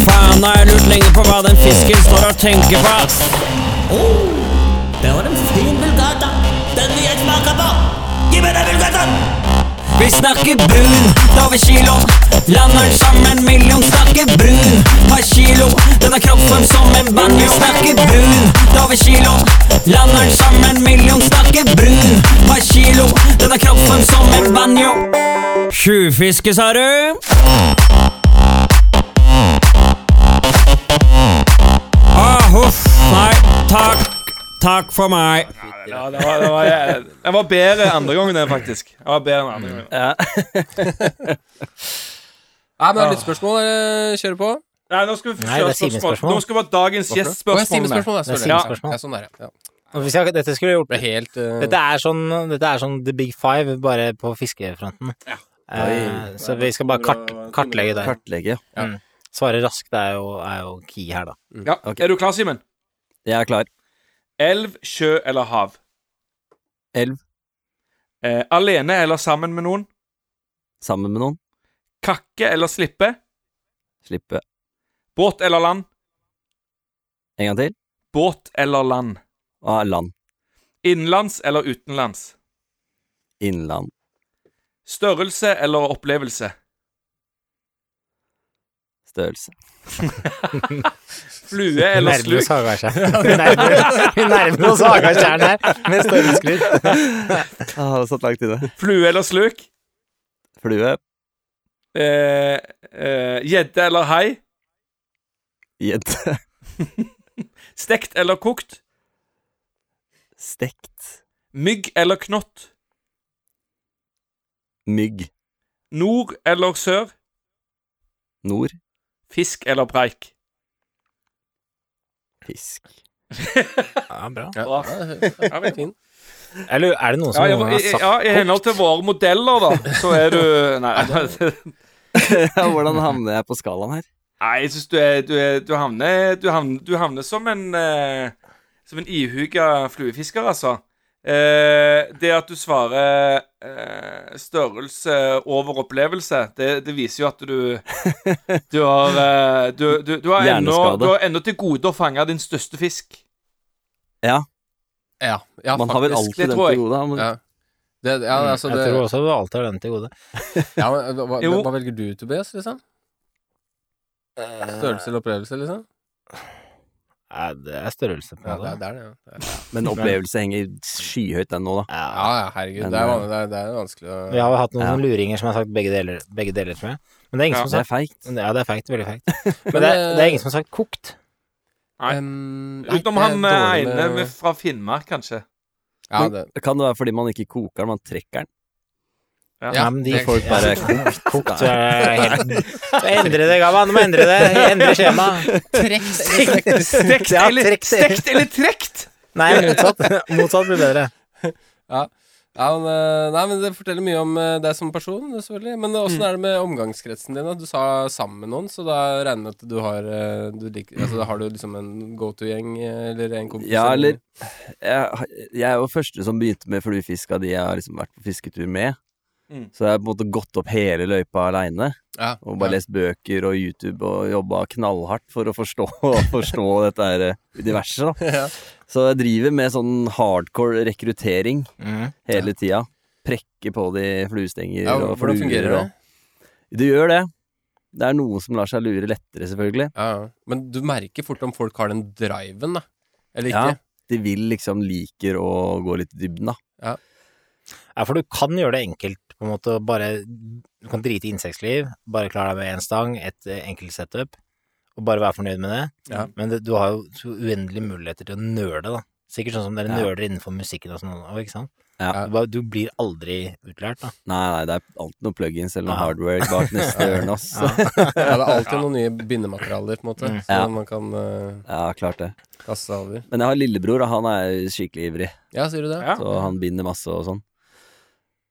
S10: Faen, har jeg lurt lenge på hva den fisken står og tenker på, ass. Oh, det var en fin vulgata. Den vil jeg smake på. Gi meg den vulgataen! Vi snakker brun, da vi kilo. Lander den som en million. Snakker brun, per kilo. Den har kroppsform som en banjo. Snakker brun, da vi kilo. Lander den som en million. Snakker brun, per kilo. Den har kroppsform som en banjo. Tjuvfiske, sa du? Ah, huff. Nei, takk. Takk for meg.
S5: Ja, det var, det var, jeg var bedre andre gangen, den, faktisk. Jeg var bedre enn andre gangen.
S1: Nei, men det er lyttespørsmål dere kjører på.
S5: Nei, nå skal vi
S6: Nei, det
S5: kjøre
S6: er Simens
S5: spørsmål.
S6: spørsmål.
S5: Nå skal vi ha dagens
S1: Å,
S5: gjestspørsmål.
S1: jeg sier med
S5: med.
S1: spørsmål, jeg,
S6: Det er
S1: sorry.
S6: Simen
S1: Ja.
S6: spørsmål.
S1: Ja, sånn er det. Ja.
S6: Og vi skal- Dette skulle jeg gjort
S1: Det er helt eh,
S6: Dette er sånn, dette er sånn The Big Five, bare på fiskefronten. Eh, så vi skal bare kart, kartlegge det.
S9: Kartlegge.
S6: Svare raskt er jo, er jo key her, da.
S5: Ja. Er du klar, Simen?
S9: Jeg er klar.
S5: Elv, sjø eller hav?
S9: Elv.
S5: Eh, alene eller sammen med noen?
S9: Sammen med noen.
S5: Kakke eller slippe?
S9: Slippe.
S5: Båt eller land?
S9: En gang til.
S5: Båt eller land?
S9: Ah, land.
S5: Innenlands eller utenlands?
S9: Innland.
S5: Størrelse eller opplevelse?
S9: Størrelse.
S5: Flue eller
S6: Nærmer oss
S5: sluk?
S6: Hagakjern. Vi nærmer- vi nærmer oss Hagakjern her med stormskritt.
S9: Ah, det har satt langt inne.
S5: Flue eller sluk?
S9: Flue.
S5: Eh, eh, Gjedde eller hai?
S9: Gjedde.
S5: Stekt eller kokt?
S9: Stekt.
S5: Mygg eller knott?
S9: Mygg.
S5: Nord eller sør?
S9: Nord.
S5: Fisk eller preik?
S9: Fisk.
S6: Ja, bra.
S5: Bra. Ja, men-
S1: fin.
S6: Eller er det
S5: Ja,
S6: noen som
S5: jeg,
S6: noen gang har
S5: jeg,
S6: sagt
S5: ja, I henhold til våre modeller, da, så er du Nei.
S9: Ja, hvordan havner jeg på skalaen her?
S5: Nei, jeg syns du er Du, er, du, havner, du, havner, du havner som en eh, Som en ihuga fluefisker, altså. Eh, det at du svarer eh, størrelse over opplevelse, det, det viser jo at du Du har eh, Du, du, du har ennå
S9: Hjerneskade.
S5: du har ennå til gode å fange din største fisk.
S9: Ja,
S1: Ja, ja
S9: man har vel
S1: faktisk.
S9: alltid
S5: det
S9: den
S5: tror
S9: til
S5: jeg.
S9: gode. da, men-
S1: Ja. Det, ja, altså, det,
S6: Mm. Jeg tror også du alltid har den til gode.
S1: ja, men, hva, hva,
S5: Jo.
S1: hva velger du, Tobias? Liksom? Størrelse eller opplevelse, liksom?
S6: Nei, det er størrelse
S1: Ja, det
S6: på
S1: er
S6: det.
S1: det. Er, det, ja. det er.
S9: Men opplevelse henger skyhøyt, den nå, da.
S1: ja, ja, herregud. Det er, van- det er, det er vanskelig å
S6: Vi har jo hatt noen
S9: Ja.
S6: sånne luringer som har sagt begge deler, begge deler tror jeg. Men det er ingen
S5: Ja,
S6: som har
S9: Det er
S6: sagt
S9: feigt.
S6: Ja, det er feigt. Veldig feigt. Men
S1: Men,
S6: det er,
S1: eh,
S6: det er ingen som har sagt kokt.
S5: Nei.
S1: em, nei,
S5: Utenom
S1: det er
S5: han eh,
S1: dårlig
S5: ene
S1: med-
S5: med- fra Finnmark, kanskje.
S1: Ja, det
S9: Kan det være fordi man ikke koker den, man trekker den?
S1: Ja,
S6: Nei, men de
S1: det-
S6: folk
S1: ja.
S6: bare
S9: kokt.
S6: kokt. så er det helt- Endre det, Gavan. Du må endre det. Endre skjemaet.
S5: Stekt
S6: Ja,
S5: eller,
S6: trekt.
S5: stekt eller trekt!
S6: Nei, motsatt. Motsatt blir bedre.
S1: ja, men, eh, nei, men Det forteller mye om eh, deg som person, selvfølgelig. Men
S5: Mm.
S1: åssen er det med omgangskretsen din? da? Du sa sammen med noen, så da regner jeg med at du har eh, du liker, altså, da Har du liksom en go to-gjeng eh, eller en kompis?
S9: Ja, eller jeg, jeg er jo første som begynte med fluefisk av de jeg har liksom vært på fisketur med.
S5: Mm.
S9: Så jeg har på en måte gått opp hele løypa aleine
S1: ja,
S9: og bare
S1: ja.
S9: lest bøker og YouTube og jobba knallhardt for å forstå, forstå dette her eh, universet, da.
S1: Ja.
S9: Så jeg driver med sånn hardcore rekruttering
S6: Mhm.
S9: hele tida. Prekke på de fluestenger
S1: Ja,
S9: og
S1: hvordan fungerer
S9: fluer
S1: det?
S9: og Du gjør det. Det er noen som lar seg lure lettere, selvfølgelig.
S1: Ja, ja. Men du merker fort om folk har den driven, da. Eller
S9: Ja,
S1: ikke.
S9: de vil liksom liker å gå litt i dybden, da.
S6: Ja, for du kan gjøre det enkelt, på en måte. og Bare, du kan drite i insektliv. Bare klare deg med én stang, et eh, enkelt setup. og bare være fornøyd med det.
S1: Ja.
S6: Men det, du har jo så uendelige muligheter til å nøle, da. Sikkert sånn som dere
S9: Ja.
S6: nøler innenfor musikken og sånn, også, ikke sant?
S9: Ja.
S6: Du, bare, du blir aldri utlært, da.
S9: Nei, nei, det er alltid noen plugins eller noe
S6: Ja.
S9: hardware bak neste ørne, ass. Ja.
S1: Ja, det er alltid noen nye bindematerialer, på en måte,
S5: Mm.
S1: som
S9: Ja.
S1: man kan eh,
S9: klart det.
S1: kaste seg over.
S9: Men jeg har lillebror, og han er skikkelig ivrig,
S1: Ja, sier du det?
S5: Ja.
S9: så han binder masse og sånn.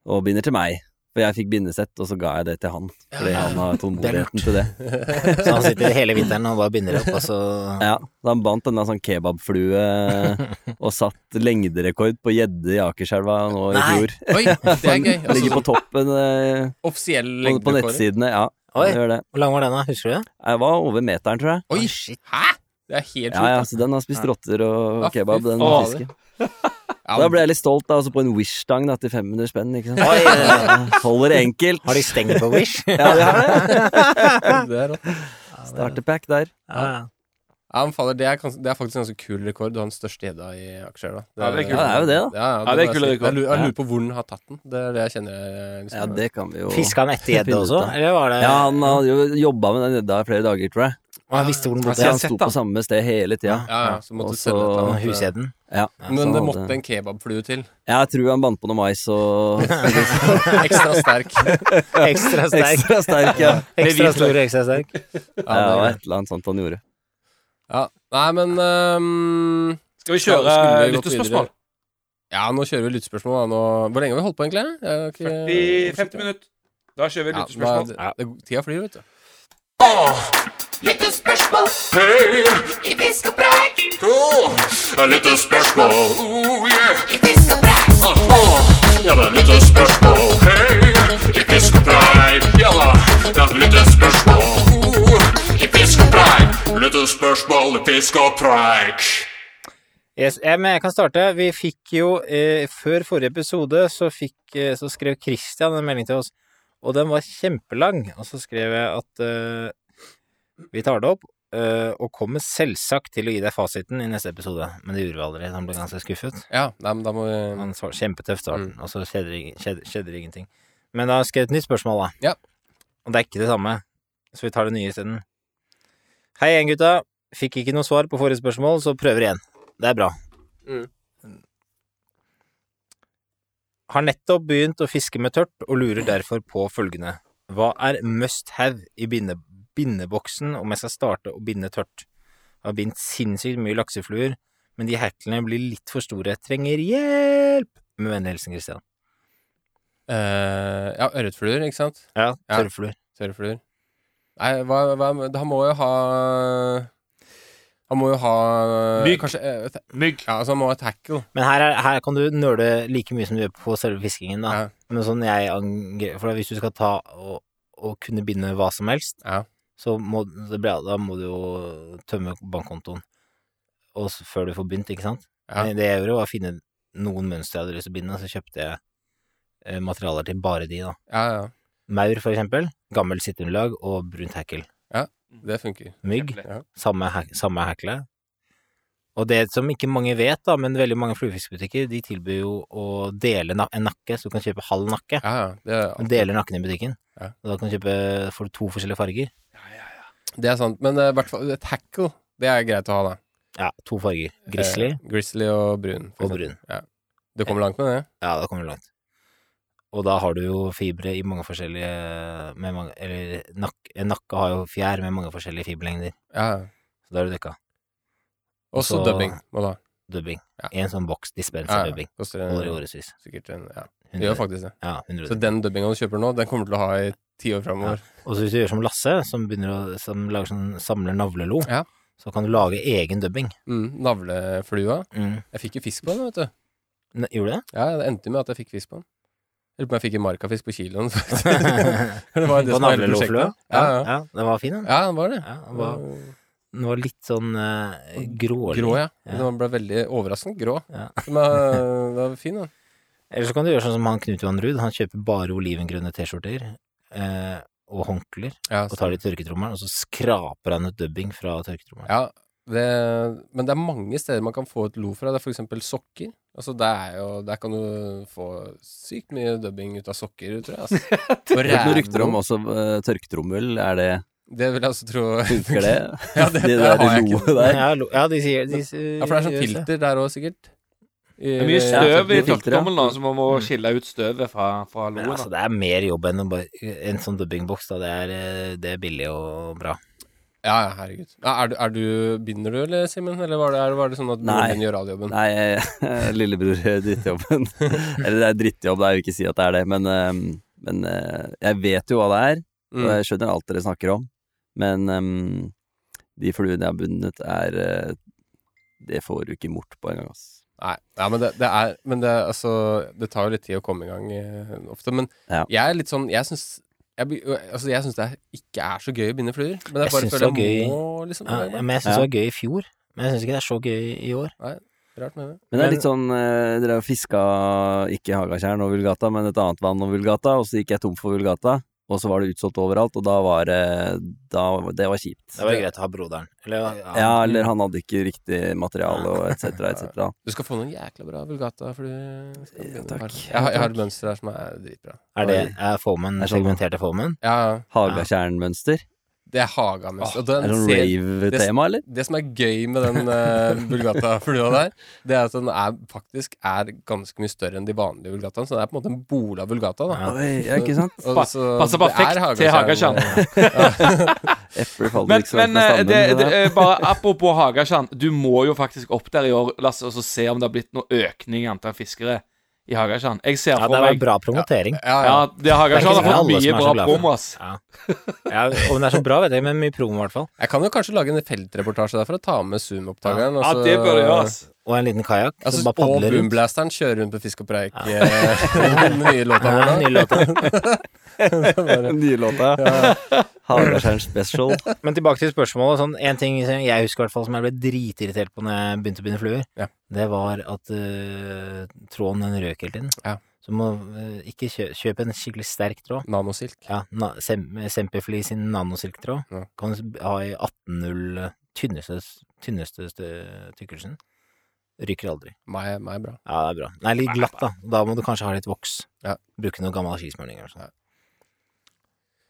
S9: Og binder til meg. For jeg fikk bindesett, og så ga jeg det til han. Fordi han har tålmodigheten til det.
S6: Så han sitter hele vinteren og bare binder opp, og så
S9: Ja, så han bandt denne sånn kebabflue og satt lengderekord på gjedde i Akerselva nå i
S6: Nei.
S9: fjor.
S1: Oi, det er gøy.
S9: Han
S1: Altså, sånn
S9: Ligger på toppen eh,
S1: offisiell
S9: på, på
S1: lengdekåring.
S9: nettsidene, ja.
S6: Oi.
S9: han Gjør det.
S6: Hvor lang var den, da? Husker du det?
S9: Jeg var over meteren, tror jeg.
S1: Oi,
S6: shit.
S1: hæ? Det er helt
S9: Ja, ja,
S1: sjukt.
S9: så den har spist rotter og
S1: Ja, fy
S9: kebab, den
S5: faen.
S9: fisken.
S1: Ja,
S9: Da ble jeg litt stolt, da, også på en Wish-stang da, til 500 spenn, ikke sant. Holder enkelt.
S6: Har de stengt på Wish? ja,
S9: Ja, det er det.
S1: det er rått.
S9: Starterpack der.
S6: ja.
S1: Ja, men fader, det, er gans- det er faktisk en ganske kul rekord. Du har den største gjedda i Akerselva.
S5: Ja, det er kult.
S9: Ja, det er jo det, da.
S1: Ja, ja,
S5: Ja, det er
S1: må jeg
S5: kul
S1: si.
S5: rekord.
S1: Jeg lurer, jeg lurer på hvor den har tatt den. Det er det jeg kjenner. eh, Liksom.
S9: Ja, det kan vi jo.
S6: Fiska han etter gjedde
S9: Finne ut
S6: også,
S9: av.
S6: eller var det
S9: Ja, han har jo jobba med den gjedda i flere dager, tror jeg.
S6: Og han visste hvor den
S5: Ja,
S6: bodde?
S5: jeg har
S9: Så han
S5: sett
S9: sto
S5: den.
S9: på samme sted hele tida.
S1: ja, ja, så måtte du
S9: Og
S1: sende et
S9: så-
S1: eller
S6: Ja,
S1: annet.
S6: Husgjedden?
S9: Ja.
S1: Men
S9: så
S1: det
S9: han
S1: måtte
S9: hadde-
S1: en kebabflue til.
S9: Jeg tror han bandt på noe mais og
S1: Ekstra sterk.
S6: Ekstra sterk.
S9: ekstra sterk, ja.
S6: Ekstra stor, ekstra sterk.
S1: Ja,
S9: Ja, det var
S1: det,
S9: et eller annet sånt han gjorde.
S1: ja. Nei, men ehm,
S5: Skal vi
S1: Ja,
S5: kjøre
S1: skulle vi gått
S5: lyttespørsmål?
S1: videre? Ja, nå kjører vi lyttespørsmål. da. Nå, hvor lenge har vi holdt på, egentlig? Jeg har ikke-
S5: 40-50 minutter. Da kjører vi
S1: Ja,
S5: lyttespørsmål.
S1: da- det, det, tida flyr, vet du.
S8: Lyttespørsmål i Fisk og Preik.
S3: Jeg lytter spørsmål. Oh, yeah. Ah,
S8: I Fisk og Preik.
S3: Ja, det er lyttespørsmål. Hei, i fiskepreik. Ja da, det er lyttespørsmål. I fiskepreik. Lyttespørsmål i fiskepreik.
S6: Yes, eh, men jeg kan starte. Vi fikk jo eh, Før forrige episode så, fikk, eh, så skrev Christian en melding til oss, og den var kjempelang. Og så skrev jeg at eh, vi tar det opp, eh, og kommer selvsagt til å gi deg fasiten i neste episode. Men det gjorde vi aldri. Han ble ganske skuffet.
S1: Ja, nei, men da må vi
S6: Han svar, kjempetøft svarte han, og så skjedde, det ing- skjedde, skjedde det ingenting. Men da har jeg skrevet et nytt spørsmål, da.
S1: Ja.
S6: Og det er ikke det samme, så vi tar det nye isteden. Hei igjen, gutta. Fikk ikke noe svar på forrige spørsmål, så prøver igjen. Det er bra. Har nettopp begynt å fiske med tørt og lurer derfor på følgende. Hva er must have i binde, bindeboksen om jeg skal starte å binde tørt? Jeg har bindt sinnssykt mye laksefluer, men de herklene blir litt for store. Jeg trenger hjelp! Med vennlig hilsen Christian.
S1: eh, Ja, ørretfluer, ikke sant?
S6: Ja,
S1: Ja.
S6: tørrfluer.
S1: Tørrfluer. Nei, hva, hva Han må jo ha Han må jo ha
S5: Mygg.
S1: Kanskje, eh, ta-
S5: Mygg.
S1: ja, altså han må ha tackle.
S6: Men her, er, her kan du nøle like mye som du gjør på selve fiskingen, da.
S1: Ja.
S6: Men sånn jeg angre... For da hvis du skal ta og, og kunne binde hva som helst,
S1: Ja.
S6: så må, det blir, da må du jo tømme bankkontoen og, s- før du får begynt, ikke sant?
S1: Ja.
S6: Det jeg gjorde, var å finne noen mønstre jeg hadde lyst til å binde, og så kjøpte jeg eh, materialer til bare de, da.
S1: Ja, ja.
S6: Maur, for eksempel. Gammel sitteunderlag og brunt hekkel.
S1: Det funker.
S6: Mygg,
S5: Kjempelett.
S1: Ja.
S6: samme, hek samme hekle. Og det som ikke mange vet, da, men veldig mange fluefiskbutikker, de tilbyr jo å dele na en nakke, så du kan kjøpe halv nakke.
S1: Ja, ja. Det,
S6: Du deler nakken i butikken,
S1: Ja.
S6: og da kan du kjøpe får du to forskjellige farger.
S1: det er sant. Men eh, i hvert fall et hackle, det er greit å ha, da.
S6: Ja, to farger. Grizzly
S1: Eh, grizzly og brun. for
S6: og
S1: eksempel.
S6: brun.
S1: Du kommer langt med det?
S6: Ja, da kommer du langt. Og da har du jo fibre i mange forskjellige med mange, Eller nak, en nakke har jo fjær med mange forskjellige fiberlengder,
S1: Ja. ja.
S6: så da er du dekka.
S1: Og så
S6: Også-
S1: dubbing må du ha.
S6: Dubbing.
S1: Ja.
S6: En sånn boks
S1: Ja,
S6: dispenser-dubbing.
S1: ja. Koster
S6: Holder i
S1: en,
S6: årevis.
S1: sikkert en Ja, det gjør
S6: Ja,
S1: faktisk det.
S6: 100
S1: Så den dubbinga du kjøper nå, den kommer du til å ha i ti år framover.
S6: Og så hvis du gjør som Lasse, som, begynner å, som lager sånn, samler navlelo,
S1: Ja.
S6: så kan du lage egen dubbing.
S1: Mm, navleflua. Jeg fikk jo fisk på den, vet du.
S6: Ne- Gjorde du det?
S1: Ja, det endte med at jeg fikk fisk på den. Jeg lurer på om jeg fikk en markafisk på kiloen, faktisk. det var jo det
S6: På
S1: som var hele
S6: navleloflua?
S1: prosjektet. Ja, ja.
S6: ja. Den var fin, den.
S1: ja, den var det.
S6: Ja, den, var, den var litt sånn uh, grålig.
S1: Grå, ja.
S6: Ja.
S1: Den ble veldig overraskende grå.
S6: Ja.
S1: Den var, den var fin, den.
S6: Eller så kan du gjøre sånn som han Knut Johan Ruud. Han kjøper bare olivengrønne T-skjorter eh, og håndklær
S1: Ja,
S6: og tar det i tørketrommelen, og så skraper han ut dubbing fra tørketrommelen.
S1: ja, det, men det er mange steder man kan få et lo fra. Det er for eksempel sokker. Altså, det er jo, der kan du få sykt mye dubbing ut av sokker, tror jeg. Altså. Og
S9: Jeg har hørt noen
S1: rævlo.
S9: rykter om også eh, tørketrommel. Er det
S1: Det vil jeg også tro.
S9: Funker det?
S1: Ja, det,
S9: De
S1: det
S9: der
S1: har jeg ikke.
S9: loene der.
S6: Ja, lo- ja, de sier de, sier-
S1: Ja, for det er sånn
S6: gjør det.
S1: filter der òg, sikkert. I-
S5: Det er mye støv i
S9: det er filteret.
S5: tørketrommelen nå, så man må skille ut støvet fra, fra
S6: Men
S5: loen.
S6: altså,
S5: da.
S6: det er mer jobb enn å bare, en sånn dubbingboks. Da. Det, er, eh, det er billig og bra.
S1: Ja, ja, herregud. Ja, er, du, er du Begynner du, eller, Simen? Eller var det, er, var det sånn at
S9: Nei.
S1: broren din gjør all jobben?
S9: Nei, eh, lillebror gjør drittjobben. Eller det er drittjobb, det er jo ikke si at det er det, men, eh, men eh, jeg vet jo hva det er, og
S1: Mm.
S9: jeg skjønner alt dere snakker om, men eh, de fluene jeg har bundet, er eh, Det får du ikke mort på engang, ass.
S1: Nei. Ja, men det, det er Men det, er, altså, det tar jo litt tid å komme i gang eh, ofte. Men
S9: Ja.
S1: jeg er litt sånn Jeg syns jeg, blir- altså, jeg synes det er, ikke er så gøy å binde fluer. Men
S6: Jeg
S1: jeg bare
S6: synes
S1: føler
S6: det er
S1: jeg må liksom
S6: Ja,
S1: det er
S6: men jeg syns det var gøy i fjor. Men jeg syns ikke det er så gøy i år.
S1: Rart med det.
S9: Men det er litt sånn eh, Dere har fiska ikke Hagatjern og Vulgata, men et annet vann og Vulgata, og så gikk jeg tom for Vulgata, og så var det utsolgt overalt, og da var det da, Det var kjipt.
S6: Det var greit å ha broderen. Eller,
S9: Ja, eller han hadde ikke riktig materiale, og et cetera, et cetera.
S1: Du skal få noen jækla bra Vulgata. For du skal
S9: Ja,
S1: begynne på
S9: takk.
S1: her. Jeg, har- jeg har et mønster her som er dritbra.
S6: Er det er formen,
S9: Det er sånn-
S6: segmenterte formen?
S1: Ja, ja.
S9: Hagatjern-mønster.
S1: det er Hagamønster. Og den
S9: Er det sånn
S1: ser-
S9: rave-tema, eller?
S1: Det som er gøy med den uh, Bulgata-flua der, det er at den er, faktisk er ganske mye større enn de vanlige Bulgataene. Så det er på en måte en bola Bulgata, da.
S6: Ja.
S9: Oi, ja, ikke sant?
S1: Og
S5: Pa-
S1: så
S5: passer
S1: altså, det er
S5: perfekt til
S1: Hagakjern.
S9: Epler faller
S5: Men,
S9: ikke
S5: men
S9: så langt liksom fra
S5: eh, det,
S9: stammen.
S5: det,
S9: det der.
S5: eh, bare apropos Hagatjern. Du må jo faktisk opp der i år Lasse, og så se om det har blitt noe økning i antall fiskere i Hagatjern. Jeg ser
S6: Ja,
S5: for
S6: det var
S5: meg
S6: bra promotering.
S1: Ja, ja.
S5: Ja, det Hagatjern har
S6: Det er ikke
S5: fått
S6: alle som
S5: mye
S6: er så
S5: bra
S6: glad for det.
S5: promo, ass.
S6: Ja. Ja, om det er så bra, vet jeg ikke, men mye promo i hvert fall.
S1: Jeg kan jo kanskje lage en feltreportasje der for å ta med Zoom-opptakeren.
S5: Ja, det bør du gjøre, ass.
S6: Og en liten kajakk
S1: Altså,
S6: som bare
S1: og
S6: padler rundt.
S1: Boomblasteren kjører rundt på Fisk og Preik. eh, Den nye låta
S6: Ja,
S1: vår.
S6: nye låter.
S9: Den nye låta. Hagatjern special.
S6: Men tilbake til spørsmålet. Sånn, en ting som jeg husker i hvert fall som jeg ble dritirritert på når jeg begynte å binde fluer,
S1: Ja.
S6: det var at øh, tråden den røk hele tiden.
S1: Ja.
S6: Så må øh, ikke kjøpe, kjøp en skikkelig sterk tråd.
S1: Nanosilk.
S6: Ja, na, sem, Semperfli sin nanosilktråd
S1: Ja.
S6: kan du ha i 18.0 tynneste, tynneste stø- tykkelsen. Ryker aldri.
S1: Meg meg er bra.
S6: Ja, det er bra. Nei, litt glatt, da. Da må du kanskje ha litt voks.
S1: Ja.
S6: Bruke noe gammel skismøring eller sånn.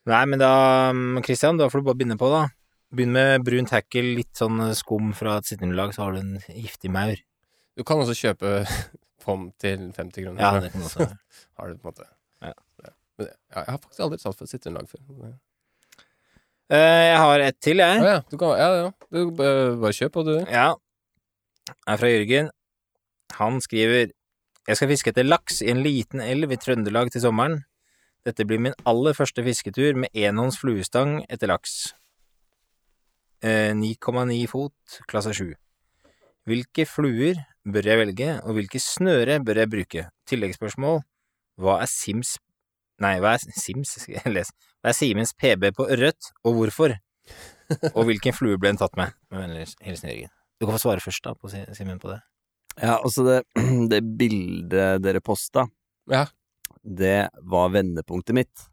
S6: Nei, men da, mm, Christian, da får du bare begynne på, da. Begynn med brun tackle, litt sånn skum fra et sitteunderlag, så har du en giftig maur.
S1: Du kan også kjøpe POM til 50 kroner.
S6: Ja, det kan du også være.
S1: Har du på en måte.
S6: Ja.
S1: Men, ja, jeg har faktisk aldri talt for et sitteunderlag før.
S6: Eh, Jeg har ett til, jeg.
S1: Å ja, du kan, ja, ja. Du, eh, bare kjøp, og du.
S6: Ja. Er fra Jørgen. Han skriver Jeg skal fiske etter laks i en liten elv i Trøndelag til sommeren. Dette blir min aller første fisketur med enhånds fluestang etter laks. Eh, 9,9 fot, klasse 7. Hvilke fluer bør jeg velge, og hvilke snøre bør jeg bruke? Tilleggsspørsmål Hva er Sims Nei, hva er Sims? Skal jeg lese. Hva er Simens PB på ørret, og hvorfor? Og hvilken flue ble den tatt med? Med vennlig hilsen Jørgen. Du kan få svare først, da, på Si- Simen, på det.
S9: Ja, også det, det bildet dere posta,
S1: Ja.
S9: det var vendepunktet mitt.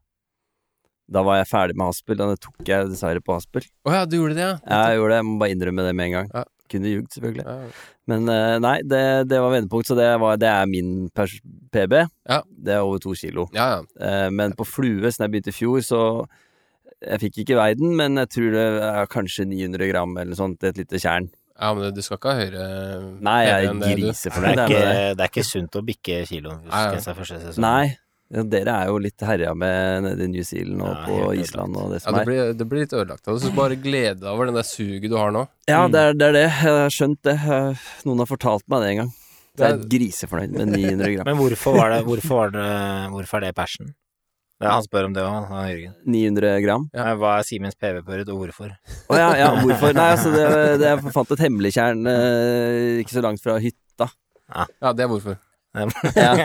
S9: Da var jeg ferdig med haspel, og det tok jeg dessverre på haspel.
S1: Å ja, du gjorde det, ja.
S9: Jeg gjorde det, jeg må bare innrømme det med en gang.
S1: Ja.
S9: Kunne ljugd, selvfølgelig.
S1: ja.
S9: Men eh, nei, det, det var vendepunkt, så det, var, det er min pers PB.
S1: Ja.
S9: Det er over to kilo.
S1: Ja, ja.
S9: Eh, men på flue, siden jeg begynte i fjor, så Jeg fikk ikke veid den, men jeg tror det er kanskje 900 gram eller noe sånt, et lite tjern.
S1: ja men du skal ikke ha høyere
S9: Nei, jeg
S1: høyere enn det,
S9: er
S1: du.
S6: Det
S9: grisefornøyd
S6: er,
S9: jeg med
S6: ikke,
S9: det.
S6: det er ikke sunt å bikke kiloen hvis
S1: Nei,
S6: du
S1: nei.
S6: skal første sesong.
S9: Nei. Ja, dere er jo litt herja med nede i New Zealand og
S6: Ja,
S9: på
S6: helt
S9: Island og det
S1: Ja,
S9: som
S1: det
S9: er.
S1: blir, det blir litt ødelagt av det. Så bare glede deg over den der suget du har nå.
S9: Ja, det er, det er det. Jeg har skjønt det. Eh, Noen har fortalt meg det en gang. Så jeg er grisefornøyd med 900 gram.
S6: Men hvorfor var det Hvorfor, var det, hvorfor er det persen? Det er, han spør om det òg, Jørgen.
S9: 900 gram.
S6: Nei, Hva er Simens PV på Rød, og hvorfor?
S9: Å ja, ja, hvorfor? Nei, altså, det, det, jeg fant et hemmelig tjern eh, ikke så langt fra hytta.
S1: Ja, det er hvorfor.
S9: Ja.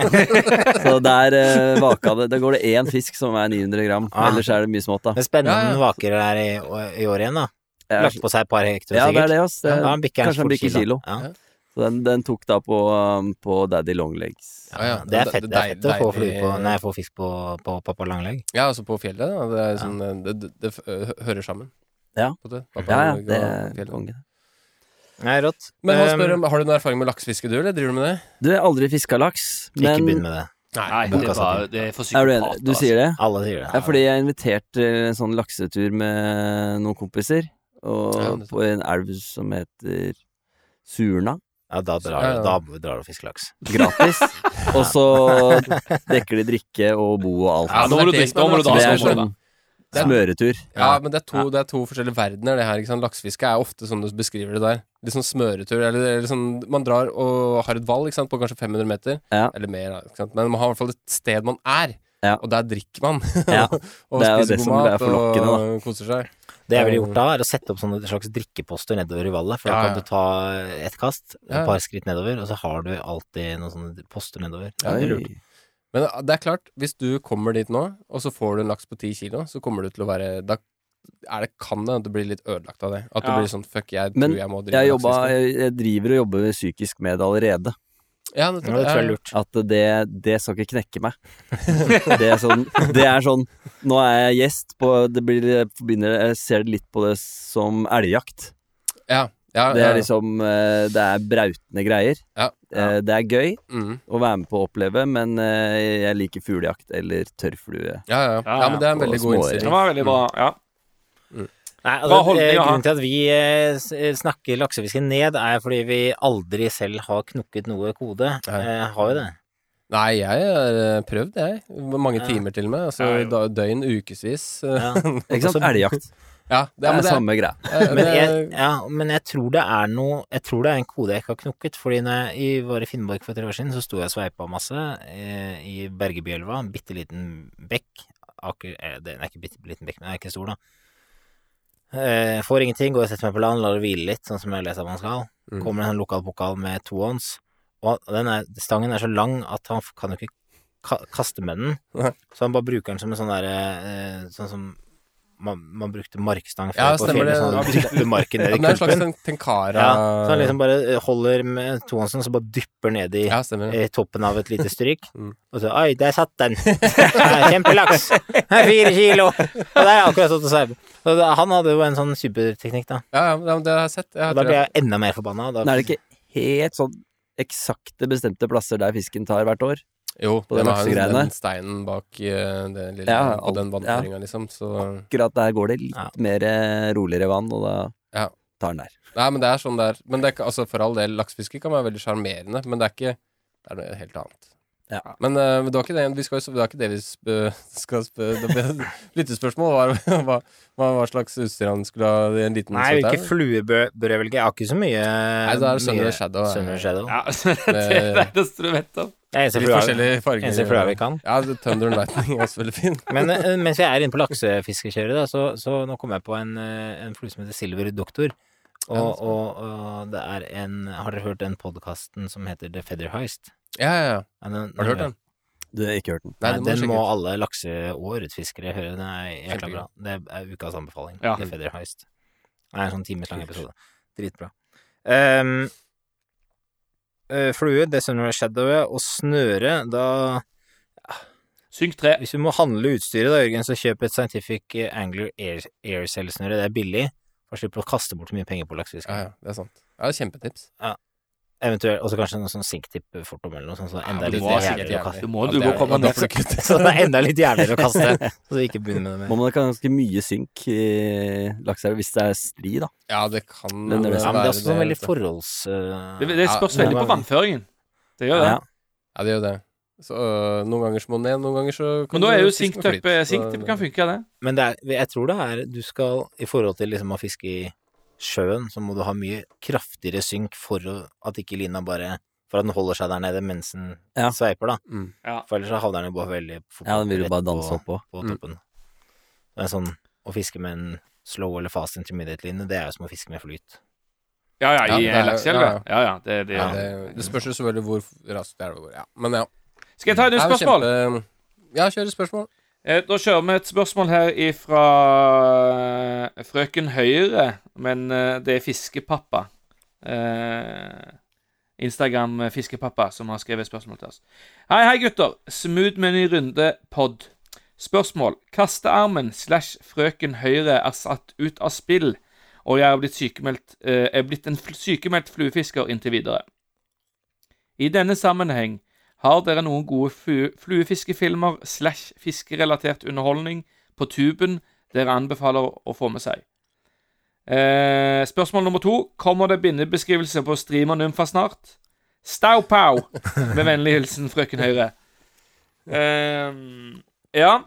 S9: Så der eh, vaka det. Der går det én fisk som er 900 gram.
S6: Ah.
S9: Ellers er det mye smått, da.
S6: Det er spennende
S1: Ja, ja.
S6: om den vaker der i, i år igjen, da.
S9: Jeg
S6: Lagt
S9: er-
S6: på seg et par hektar,
S9: Ja, det er
S6: sikkert.
S9: det, ass. Det,
S6: Ja, han bikker
S9: kanskje han
S6: fort
S9: bikker kilo.
S6: Ja.
S9: Så den, den tok da på, um, på Daddy Longlegs.
S1: Ja, ja.
S6: Det er fett, det er
S1: deil-
S6: fett å få flue
S1: deilig-
S6: på Nei, få fisk på, på pappa Langlegg.
S1: Ja, altså på fjellet. Da. Det, er sånn, det, det, det hø- hører sammen.
S9: Ja.
S1: På det. Pappa
S9: Ja, ja,
S1: Norge
S9: det
S1: og
S9: er
S1: fjellet.
S9: konge.
S6: Nei, rått.
S1: Men han
S6: Um,
S1: spør om har du noen erfaring med laksefiske, du, eller driver du med det?
S9: Du, jeg har aldri fiska laks,
S6: Ikke
S9: men
S6: begynn med altså. det.
S5: Nei, det,
S6: boka
S5: var,
S6: sa
S5: det er for
S9: Er du
S5: psykopat.
S9: enig? Du sier det?
S6: Alle sier
S9: Ja,
S6: det.
S9: fordi jeg er invitert til en sånn laksetur med noen kompiser. Og
S1: Ja, nettopp.
S9: på en elv som heter Surna.
S6: Ja, da drar
S1: Ja,
S6: du
S1: ja.
S6: da drar du og fisker laks.
S9: Gratis. og så dekker de drikke og bo og alt.
S5: Ja,
S1: men
S5: nå må
S1: det
S5: du
S1: er det
S5: drikke,
S1: som er
S5: nå må du
S1: bra.
S5: da
S9: det
S5: så
S9: er
S5: må du da.
S9: sånn smøretur.
S1: Ja, men det er, to, det er to forskjellige verdener, det her. ikke sant? Laksefiske er ofte sånn du beskriver det der. Litt sånn smøretur. Eller, eller sånn, man drar og har et valg ikke sant? på kanskje 500 meter,
S9: Ja.
S1: eller mer. da, Ikke sant? Men man har i hvert fall et sted man er,
S9: Ja.
S1: og der drikker man.
S9: Ja.
S1: og
S9: Det er jo
S1: spiser
S9: det
S1: god
S9: som er
S1: mat
S9: forlokkende,
S1: og koser seg.
S6: Det jeg ville gjort da, er å sette opp sånne slags drikkeposter nedover i vallet, for
S1: Ja,
S6: da
S1: ja.
S6: kan du ta et kast, et
S1: Ja, ja.
S6: par skritt nedover, og så har du alltid noen sånne poster nedover.
S1: Ja, det er lurt. Men ah, det er klart, hvis du kommer dit nå, og så får du en laks på 10 kilo, så kommer du til å være Da er det, kan det at du blir litt ødelagt av det. At du
S5: Ja.
S1: blir sånn fuck, jeg
S9: Men
S1: tror jeg må drive
S9: Jeg, jobba,
S1: laksefiske.
S9: jeg, jeg driver og jobber psykisk med det allerede.
S1: Ja,
S6: Ja, det tror jeg er
S1: ja.
S6: lurt.
S9: At det, det skal ikke knekke meg. Det er sånn, det er sånn Nå er jeg gjest på det blir, jeg, forbinder, jeg ser det litt på det som elgjakt.
S1: Ja, ja,
S9: Det
S1: ja.
S9: er liksom eh, Det er brautende greier.
S1: Ja.
S9: Eh, Det er gøy
S1: Mm.
S9: å være med på å oppleve, men eh, jeg liker fuglejakt eller tørrflue.
S1: Ja, ja.
S5: Ja,
S1: ja, men det er en
S9: ja,
S1: veldig
S9: på
S1: god
S9: småøring.
S5: Det
S1: innstilling.
S5: var veldig bra. Ja.
S6: Nei, altså,
S5: Hva holdninger
S6: eh,
S5: har-
S6: grunnen til at vi eh, s- snakker laksefiske ned, er fordi vi aldri selv har knukket noe kode.
S1: Nei.
S6: Eh, har jo det.
S1: Nei, jeg har eh, prøvd, jeg. Mange
S6: Ja.
S1: timer til og med. Altså
S5: Ja, jo.
S1: da- døgn, ukevis. eh.
S6: Ja.
S9: Ikke sant?
S6: Også-
S9: Elgjakt.
S1: Ja, det,
S9: Det
S1: ja,
S9: er
S1: men det er
S9: samme greia.
S1: eh,
S6: Men
S1: det
S6: jeg,
S1: er-
S6: ja, men jeg tror det er noe Jeg tror det er en kode jeg ikke har knukket. Fordi når jeg i- var i Finnmark for tre år siden, så sto jeg og sveipa masse eh, i Bergebyelva, en bitte liten bekk. Aker, eh, den er ikke bitte liten bekk, men den er ikke stor, da. Eh, får ingenting, går og setter meg på land, lar det hvile litt, sånn som jeg leser at man skal.
S1: Mm.
S6: Kommer det en sånn lokal pokal med to ånds, og den er, stangen er så lang at han f- kan jo ikke ka- kaste med den.
S1: Nei.
S6: Så han bare bruker den som en sånn derre eh, Sånn som man, man brukte markstang før
S1: Ja,
S6: på
S1: stemmer
S6: fjellet,
S1: det.
S6: sånn at du dytter marken
S1: ja,
S6: ned i
S1: men det er en slags
S6: kulpen.
S1: ten- tenkara
S6: Ja, så han liksom bare eh, holder med tohåndsen, så bare dypper ned i
S1: Ja, stemmer det.
S6: i toppen av et lite stryk,
S1: Mm.
S6: og så Oi, der satt den! Ja, Kjempelaks! Fire kilo! Og der har jeg akkurat stått og sveipet. Så det- Han hadde jo en sånn superteknikk, da.
S1: Ja, ja, men det- men det har jeg sett. Jeg
S6: Og
S1: har
S6: da ble
S1: tre-
S6: jeg enda mer forbanna. og Da
S9: Men er det ikke helt sånn eksakte bestemte plasser der fisken tar hvert år?
S1: jo,
S9: på
S1: den
S9: de
S1: har jo
S9: laksegreiene.
S1: den steinen bak eh, det lille
S9: Ja,
S1: på den
S9: alt- ja.
S1: vannføringa, liksom. Så
S9: Akkurat der går det litt
S6: Ja.
S9: mer eh, roligere vann, og da
S1: Ja.
S9: tar den der.
S1: Nei, men det er sånn det er. Men det er ikke- altså, for all del, laksefiske kan være veldig sjarmerende, men det er ikke Det er noe helt annet.
S9: Ja.
S1: Men eh, men det var ikke det vi, skal, det var ikke det vi sp skal spø... det ble- Lyttespørsmål var hva, hva, hva slags utstyr han skulle ha i en liten
S6: Nei,
S1: søt
S6: hvilke
S1: her.
S6: fluer bør bør jeg velge? Jeg har ikke så mye
S1: Nei, da er det Sunner
S6: mye-
S1: og Shadow. er-
S6: Sunner og Shadow.
S5: ja altså, det er det eneste du vet om.
S6: Det er eneste
S1: Litt
S6: flua-
S1: forskjellige farger.
S6: eneste flua vi kan.
S1: Ja, det- Thunder and Lightning er også veldig fin.
S6: Men eh, mens vi er inne på laksefiskekjøret, da, så, så nå kom jeg på en, eh, en flue som heter Silver Doktor. Og,
S1: Ja, det er
S6: og, og det er en Har dere hørt den podkasten som heter The Feather Heist?
S1: Ja, ja, ja.
S6: Ja, den-
S1: Har du hørt den?
S9: Du har ikke hørt den.
S1: Nei,
S6: Nei,
S1: det må du
S6: den må
S1: sjekke ut.
S6: alle lakse- og ørretfiskere høre. Den er jækla bra.
S1: Kjempegøy.
S6: Det er ukas anbefaling.
S5: Ja.
S6: The Feather Heist. Det er en sånn times lang episode. Dritbra. Ehm, eh, flue, det Sunrise Shadowet og snøre, da
S5: Synk tre.
S6: Hvis du må handle utstyret, da, Jørgen, så kjøp et Scientific eh, Angler Air- Aircell-snøre. Det er billig. Og slipper å kaste bort så mye penger på laksefisk.
S1: Ja, ja, det er sant. Ja, det er Kjempetips.
S6: Eventuelt, og så kanskje noe sånn sinktip-fortom eller noe sånt. Så det er enda
S1: Ja, men
S5: du
S6: litt
S5: må ha
S6: jævligere å
S5: sinktip.
S6: kaste.
S5: Du må-
S1: Ja,
S5: du
S1: det
S5: må
S1: er-
S5: komme
S1: ja, det er
S5: med
S1: for-
S6: Så det er enda litt jævligere å kaste. Så vi ikke begynner med det
S9: Må
S6: mer.
S9: man ha ganske mye synk i lakseelv hvis det er stri, da.
S1: Ja, det kan
S9: Men det er
S6: Ja, men det er
S1: være
S6: også sånn veldig
S1: vet du.
S6: forholds...
S5: Det,
S6: eh,
S5: det spørs
S6: Ja,
S5: veldig på
S6: men-
S5: vannføringen. Det gjør det.
S9: Ja.
S1: Ja, det gjør det. Så øh, Noen ganger så må den ned, noen ganger så kan
S5: Men da
S1: du
S5: er jo
S1: fiske med
S5: sinktup
S1: flyt. Så-
S5: kan funke, det.
S6: Men det er, jeg tror det er Du skal, i forhold til liksom å fiske i sjøen, så må du ha mye kraftigere synk for å, at ikke lina bare For at den holder seg der nede mens den
S9: Ja.
S6: sveiper, da.
S1: Mm.
S5: Ja.
S6: For ellers så havner den jo bare veldig fort
S9: ja, den vil
S6: rett
S9: jo bare danse oppå.
S6: på
S1: Mm.
S6: toppen. Det er sånn Å fiske med en slow eller fast intermediate-line, det er jo som å fiske med flyt.
S5: Ja, ja, i
S1: Ja, det er-
S5: lakseelva.
S1: ja,
S5: Ja, ja. Det, det,
S1: Ja, det, det spørs jo selvfølgelig hvor raskt det er det går. Ja, men ja.
S5: Skal jeg ta et
S1: Det
S5: nytt
S1: er jo
S5: spørsmål?
S1: kjempe- Ja, kjør et spørsmål.
S5: Eh, Da kjører vi et spørsmål her fra frøken Høyre, men eh, det er fiskepappa. Eh, Instagram eh, fiskepappa som har skrevet spørsmål til oss. Hei, hei, gutter. Smooth med ny runde pod. Spørsmål. Kastearmen slash frøken Høyre er satt ut av spill, og jeg er blitt sykemeldt, eh, er blitt en fl- sykemeldt fluefisker inntil videre. I denne sammenheng Har dere noen gode fu- fluefiskefilmer slash fiskerelatert underholdning på tuben dere anbefaler å få med seg? Eh, spørsmål nummer to. Kommer det bindebeskrivelse på streamer Nymfa snart? Staupow! Med vennlig hilsen frøken Høyre. Eh, ja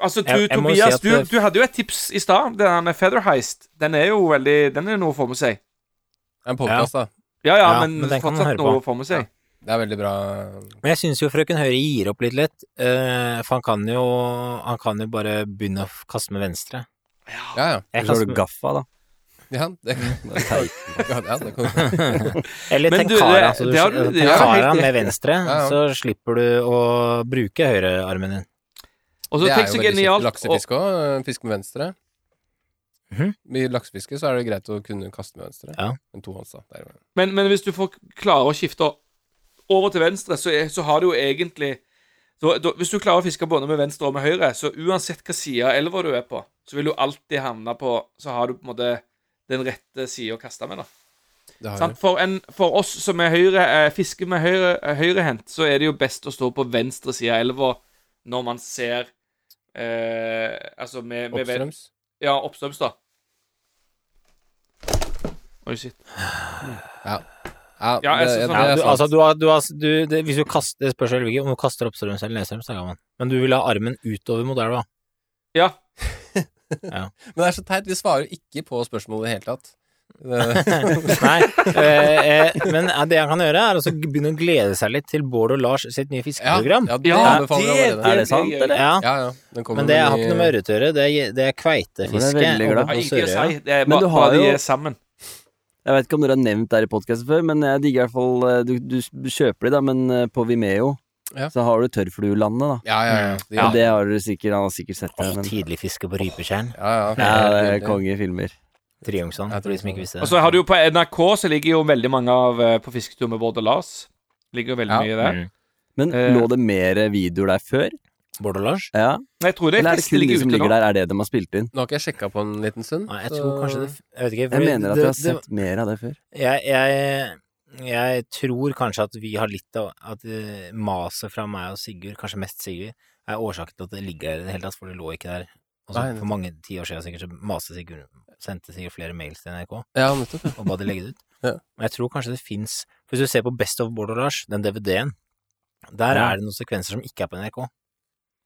S5: Altså, tu,
S6: Jeg- jeg må si
S5: Tobias,
S6: at det-
S5: du, du hadde jo et tips i stad. Den her med Feather Heist. Den er jo veldig Den er noe å få med seg.
S1: En podkast, da.
S5: Ja, ja,
S6: Ja,
S5: men,
S6: men den kan man
S5: fortsatt
S6: høre
S5: noe
S6: på.
S5: å få med seg.
S1: Det er veldig bra.
S6: Men jeg syns jo frøken Høyre gir opp litt lett, eh, for han kan jo Han kan jo bare begynne å f- kaste med venstre.
S1: Ja, ja.
S6: Jeg
S9: Så har
S6: kaster
S9: du
S6: med,
S9: gaffa, da.
S1: Ja, det kan ja, det kan
S6: eller
S5: Men du,
S6: tenkara.
S5: det-
S6: Så du
S5: det har du- det har
S6: altså,
S5: du
S6: tenkara
S5: helt rett i.
S6: med venstre,
S1: ja.
S6: så slipper du å bruke høyrearmen din.
S5: Og så
S1: Det er
S5: tenk
S1: jo
S5: så
S1: veldig kjipt.
S5: genialt
S1: Laksefiske òg. Fiske med venstre.
S6: Mhm.
S1: I laksefiske så er det greit å kunne kaste med venstre.
S6: Ja.
S1: Men tohånds, da. Det er jo-
S5: Men, men hvis du får klare å skifte over til venstre, så, er, så har du jo egentlig da, da, Hvis du klarer å fiske både med venstre og med høyre, så uansett hva side av elva du er på, så vil du alltid havne på Så har du på en måte den rette sida å kaste med, da.
S1: det har
S5: Sant? For, en, for oss som er høyre, eh, fisker med høyre, eh, høyrehendt, så er det jo best å stå på venstre side av elva når man ser eh, Altså med,
S1: jeg.
S5: med ven-
S1: Oppstrøms.
S5: Ja, oppstrøms, da. Oi, shit.
S1: Ja,
S5: Ja, jeg
S1: det,
S5: synes
S1: det,
S5: sånn-
S6: Ja,
S1: er
S6: du,
S1: sant.
S6: altså, du har, du har, du, det, hvis du kaster, det spørs vel hvilken- om du kaster oppstrøms eller nedstrøms, da kan man. Men du vil ha armen utover mot elva.
S5: Ja.
S1: Men det er så teit. Vi svarer ikke på spørsmålet i det hele tatt. Det,
S6: Nei, eh, eh, men eh, det han kan gjøre, er altså begynne å glede seg litt til Bård og Lars sitt nye
S1: ja,
S6: fiskeprogram.
S1: ja, det
S5: Ja,
S1: anbefaler jeg
S5: det-
S1: allerede.
S9: Er det sant, eller?
S6: Ja,
S1: Ja, ja. Den kommer
S6: men det
S1: vel
S6: har
S1: i-
S6: ikke noe med ørret å gjøre. Det er, det er
S9: Men jeg er
S6: kveitefiske.
S9: veldig
S6: over på
S9: glad.
S5: Nei, ikke
S6: Sørøya.
S5: si. Det er
S9: Men
S5: bare,
S9: du har
S5: bare de
S9: jo-
S5: er sammen.
S9: Jeg vet ikke om dere har nevnt det her i podkasten før, men jeg digger i hvert fall eh, Du, du s- kjøper de, da, men eh, på Vimeo
S1: Ja.
S9: så har du tørrfluelandet, da.
S1: Ja, ja, ja.
S6: Mm.
S1: De-
S9: Og det har du sikkert, han har sikkert sett det.
S6: Åh,
S9: Men,
S6: tidlig fiske på rypetjern.
S1: ja, ja.
S9: ja, det er
S1: Veldig.
S9: kongefilmer.
S6: Triumfsand, for de som ikke visste
S5: Og
S6: det.
S5: så har du jo på NRK så ligger jo veldig mange av eh, På fisketur med Bård og Lars. Ligger jo veldig
S1: Ja.
S5: mye der.
S6: Mm.
S9: Men
S5: Eh.
S9: lå det mer videoer der før?
S6: Bård og Lars?
S9: Ja.
S5: Men jeg tror det
S9: Eller er det
S5: fleste
S9: kun de
S5: ligger
S9: som
S5: ute nå.
S9: ligger der, er det de har spilt inn?
S1: Nå har ikke jeg sjekka på en liten stund.
S6: Nei, Mm. jeg
S1: så-
S6: tror kanskje det Jeg vet ikke.
S9: Jeg
S6: fordi
S9: mener at
S6: det-
S9: jeg har
S6: det-
S9: sett mer av det før.
S6: Jeg, jeg, jeg tror kanskje at vi har litt av At eh, maset fra meg og Sigurd, kanskje mest Sigurd, er årsaken til at det ligger der i det hele tatt, for det lå ikke der. Og så
S1: Nei,
S6: for mange tiår siden sikkert, så maste Sigurd Sendte Sigurd flere mails til NRK og
S1: Ja, nettopp. ja.
S6: ba de legge det ut.
S1: Ja.
S6: Men jeg tror kanskje det fins Hvis du ser på Best of Bård og Lars, den DVD-en, der
S9: Ja.
S6: er det noen sekvenser som ikke er på NRK.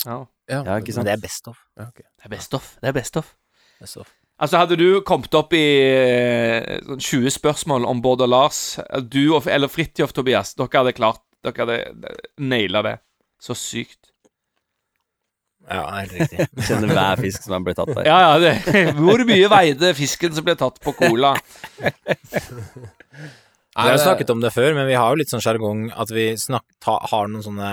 S5: Ja.
S9: Ja, ikke sant?
S6: Men det er Best of.
S1: Ja, ok.
S5: Det er best of. Det er best of.
S6: Best of.
S5: Altså, hadde du kommet opp i eh, sånn 20 spørsmål om Bård og Lars, eh, du og, eller Fridtjof Tobias, dere hadde klart Dere hadde naila det. Så sykt.
S6: Ja, helt riktig.
S9: Kjenner hver fisk som er blitt tatt der.
S5: Ja, ja, det Hvor mye veide fisken som ble tatt på cola?
S6: Vi har jo
S1: det-
S6: snakket om det før, men vi har jo litt sånn sjargong at vi snak, ta, har noen sånne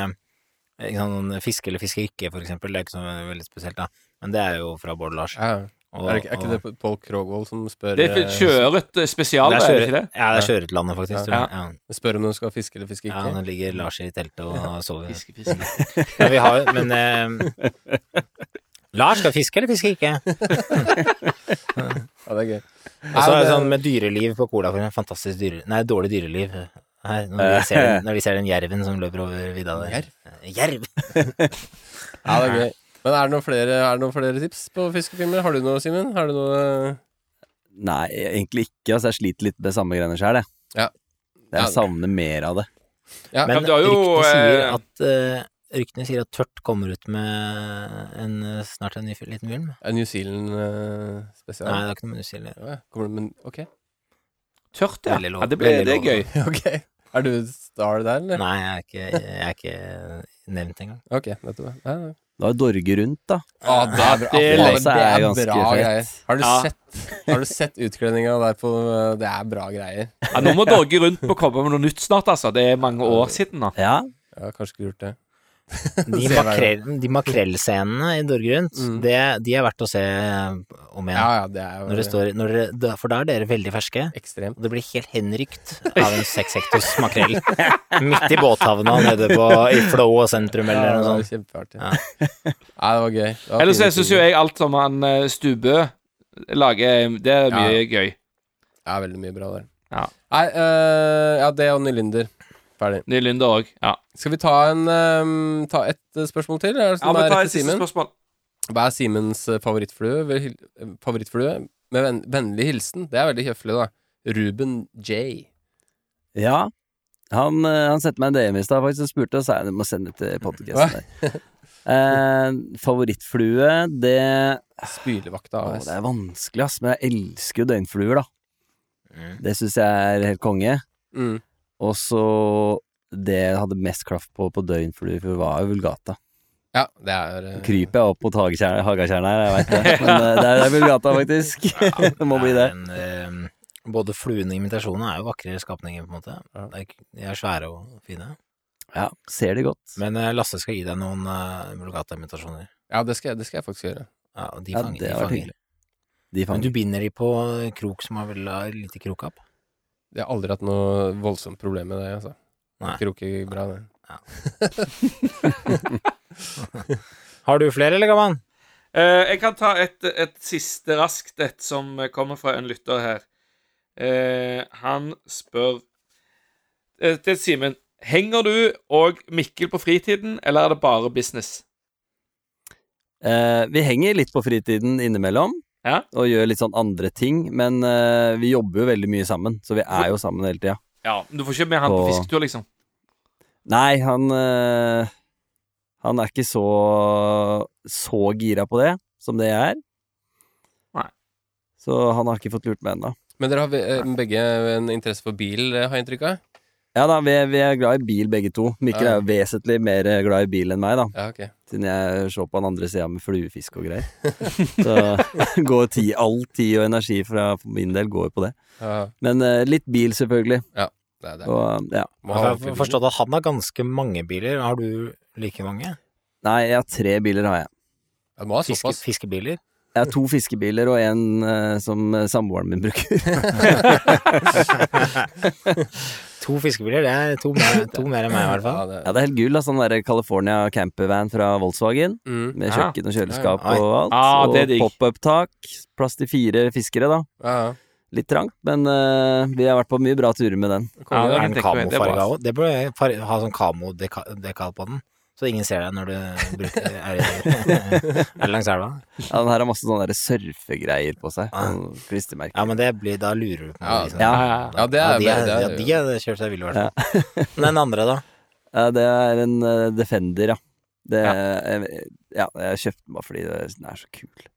S6: eh, ikke sant, noen Fiske eller fiske ikke, for eksempel. Det er ikke så veldig spesielt, da. Men det er jo fra Bård Lars.
S1: Ja, ja.
S6: Og-
S1: Er, det, ikke- er ikke
S6: og-
S1: det Paul Krogvold som spør,
S5: Det er
S1: eh,
S5: sjøørret eh, spesial,
S6: det
S5: er
S6: er
S5: det ikke det?
S6: Sjøret- Ja, det er Sjøørretlandet, faktisk. Tror jeg. Ja.
S1: eh, spør om du skal fiske eller fiske
S6: Ja,
S1: ikke?
S6: nå ligger Lars i teltet og sover.
S5: Fiske, fiske.
S6: Men vi har jo Men eh, Lars skal fiske eller fiske ikke?
S1: Ja, det er gøy.
S6: Og så er
S1: det-
S6: det sånn med dyreliv på Cola, for eksempel. Fantastisk dyre... Nei, dårlig dyreliv. Her, når, vi ser den, når vi ser den jerven som løper over vidda der. Jerv?
S1: Ja, det er gøy. Men er det noen flere, er det noen flere tips på fiskefilmer? Har du noe, Simen? Har du noe
S9: Nei, egentlig ikke. Altså, jeg sliter litt med samme greiene sjøl, jeg.
S1: Ja. Ja.
S9: Jeg savner mer av det.
S1: Ja,
S6: Men
S5: men det er jo,
S6: ryktene sier
S5: eh,
S6: at eh, Ryktene sier at Tørt kommer ut med en, eh, snart en ny fil- liten film.
S1: Er New Zealand eh, spesial?
S6: Nei, det er ikke noe musikk eller
S1: Ja, ja. Kommer du med Ok.
S5: Tørt, ja.
S6: Veldig lov.
S5: ja det, ble,
S6: Veldig
S5: det er
S6: lov.
S5: gøy.
S1: ok. Er du star der, eller?
S6: Nei, jeg er ikke, jeg er ikke nevnt engang.
S1: Ok, nettopp. Ja, ja.
S9: Det var Dorge rundt, da.
S1: Ah, det er bra.
S5: Det
S1: Faen,
S9: leser jeg ganske fett.
S1: greier. Har du,
S5: Ja.
S1: sett, har du sett utkledninga der på Det er bra greier.
S5: Ja, nå må Dorge rundt på å komme med noe nytt snart, altså. Det er mange år siden, da.
S9: Ja.
S1: Jeg har kanskje ikke gjort det.
S6: De,
S1: Ser
S6: makrell, de makrellscenene i Dorge rundt,
S1: Mm.
S6: det, de er verdt å se om igjen.
S1: Ja, ja, det er
S6: Når det
S1: jo
S6: står, når dere- da- for da er dere veldig ferske.
S1: ekstremt.
S6: Og det blir helt henrykt av en sekshektors makrell midt i båthavna nede på, i Flå sentrum
S1: Ja,
S6: eller
S1: det
S6: noe
S1: var
S6: sånt.
S1: kjempeartig.
S6: Ja.
S1: Nei, det var gøy. Det var
S5: Ellers
S1: fine
S5: jeg syns jo
S1: tider.
S5: jeg alt som han eh, Stubø lager, eh, det er mye gøy.
S1: Det er veldig mye bra der.
S5: Ja.
S1: Nei, eh, ja, det og Nylinder. Ferdig.
S5: Ny Lynder òg. Ja.
S1: Skal vi ta, en, ehm, ta et eh, spørsmål til? Eller er det
S5: ja,
S1: sånn
S5: men
S1: det er
S5: ta
S1: rett
S5: et
S1: til
S5: siste
S1: Simen?
S5: spørsmål.
S1: Hva er Simens eh, favorittflue? Vel, hil- eh, favorittflue? Med ven, vennlig hilsen. Det er veldig høflig, da. Ruben J.
S9: Ja. Han, eh, han sendte meg en DM i stad faktisk, og spurte, og sa jeg må sende det til podkasten. eh, favorittflue, det
S1: Spylevakta
S9: Å,
S1: AS.
S9: det er vanskelig, ass. Men jeg elsker jo døgnfluer, da. Det syns jeg er helt konge.
S1: Mm.
S9: Og så det jeg hadde mest klaff på på døgnfluer, for var jo Vulgata.
S1: Ja, det er eh,
S9: Nå kryper jeg opp mot hagekjern- hagakjernen her, jeg veit det. Men eh, det er, det er Vulgata, faktisk. det må bli det.
S6: Men, eh, både fluene og imitasjonene er jo vakre skapninger, på en måte. Det er ikke- De er svære og fine.
S9: Ja, ser de godt.
S6: Men eh, Lasse skal gi deg noen uh, Mulgata-imitasjoner.
S1: Ja, det skal, jeg- det skal jeg faktisk gjøre.
S6: Ja, og de
S9: Ja,
S6: fanger.
S9: det
S6: de
S9: var
S6: fanger.
S9: hyggelig.
S6: Men
S9: De
S6: du
S9: fanger.
S6: binder de på eh, krok som har vel har lite krokapp?
S1: Jeg har aldri hatt noe voldsomt problem med det. Altså.
S6: Nei.
S1: Kroker bra, det.
S6: Har du flere, eller, Gamman?
S5: Eh, jeg kan ta et, et siste raskt, et som kommer fra en lytter her. Eh, han spør eh, til Simen Henger du og Mikkel på fritiden, eller er det bare business?
S9: Eh, vi henger litt på fritiden innimellom.
S5: Ja.
S9: Og gjør litt sånn andre ting, men eh, vi jobber jo veldig mye sammen, så vi er jo sammen hele tida.
S5: Ja, men Du får ikke med han på
S9: På-
S5: fisketur, liksom?
S9: Nei, han eh, Han er ikke så så gira på det som det jeg er.
S5: Nei.
S9: Så han har ikke fått lurt meg ennå.
S1: Men dere har ve- eh, begge en interesse for bil, eh, har jeg inntrykk av?
S9: Ja da, vi, vi er glad i bil begge to. Mikkel
S1: Ja.
S9: er jo vesentlig mer eh, glad i bil enn meg, da.
S1: Ja, ok.
S9: Siden jeg så på den andre sida med fluefisk og greier. Så går ti, all tid og energi fra for min del går på det.
S1: Ja,
S9: Men eh, litt bil, selvfølgelig.
S1: det er det.
S9: Og, ja.
S1: Må ha ordentlig bil.
S6: Jeg har Altså, forstått at han har ganske mange biler. Har du like mange?
S9: Nei, jeg har tre biler, har jeg.
S1: Ja, må ha
S6: Fiske,
S1: såpass.
S6: fiskebiler?
S9: Jeg har to fiskebiler og en eh, som eh, samboeren min bruker.
S6: To fiskebiler, det er to mer, to mer enn meg, i hvert fall.
S1: Ja, det,
S9: Ja, det er helt gull, da. Sånn derre California campervan fra Volkswagen.
S1: mm.
S9: Med
S5: Ja.
S9: kjøkken og kjøleskap
S6: Ja, ja.
S9: og alt.
S5: Ah, det er digg.
S9: og pop-up-tak. Plass til fire fiskere, da.
S1: ja, ja.
S9: Litt trangt, men eh, vi har vært på mye bra turer med den.
S5: Ja, det
S6: Er
S5: kan
S6: den
S5: jeg tenke meg. Det er bra.
S6: kamofarga òg? Det bør jeg far- ha sånn kamodekal på den, så ingen ser deg når du bruker, er, er langs elva.
S9: Ja, den her har masse sånne der surfegreier på seg. Sånn Klistremerker.
S6: Ja, men det blir, da lurer du på
S1: Ja,
S6: meg. Liksom.
S9: Ja,
S1: Ja, det er-
S6: de, er,
S1: det er-
S6: ja, de har kjørt seg ville, i hvert fall. Men den andre, da?
S9: ja, det er en eh, Defender, ja. Det, eh, ja, jeg kjøpte den bare fordi det- den er så kul.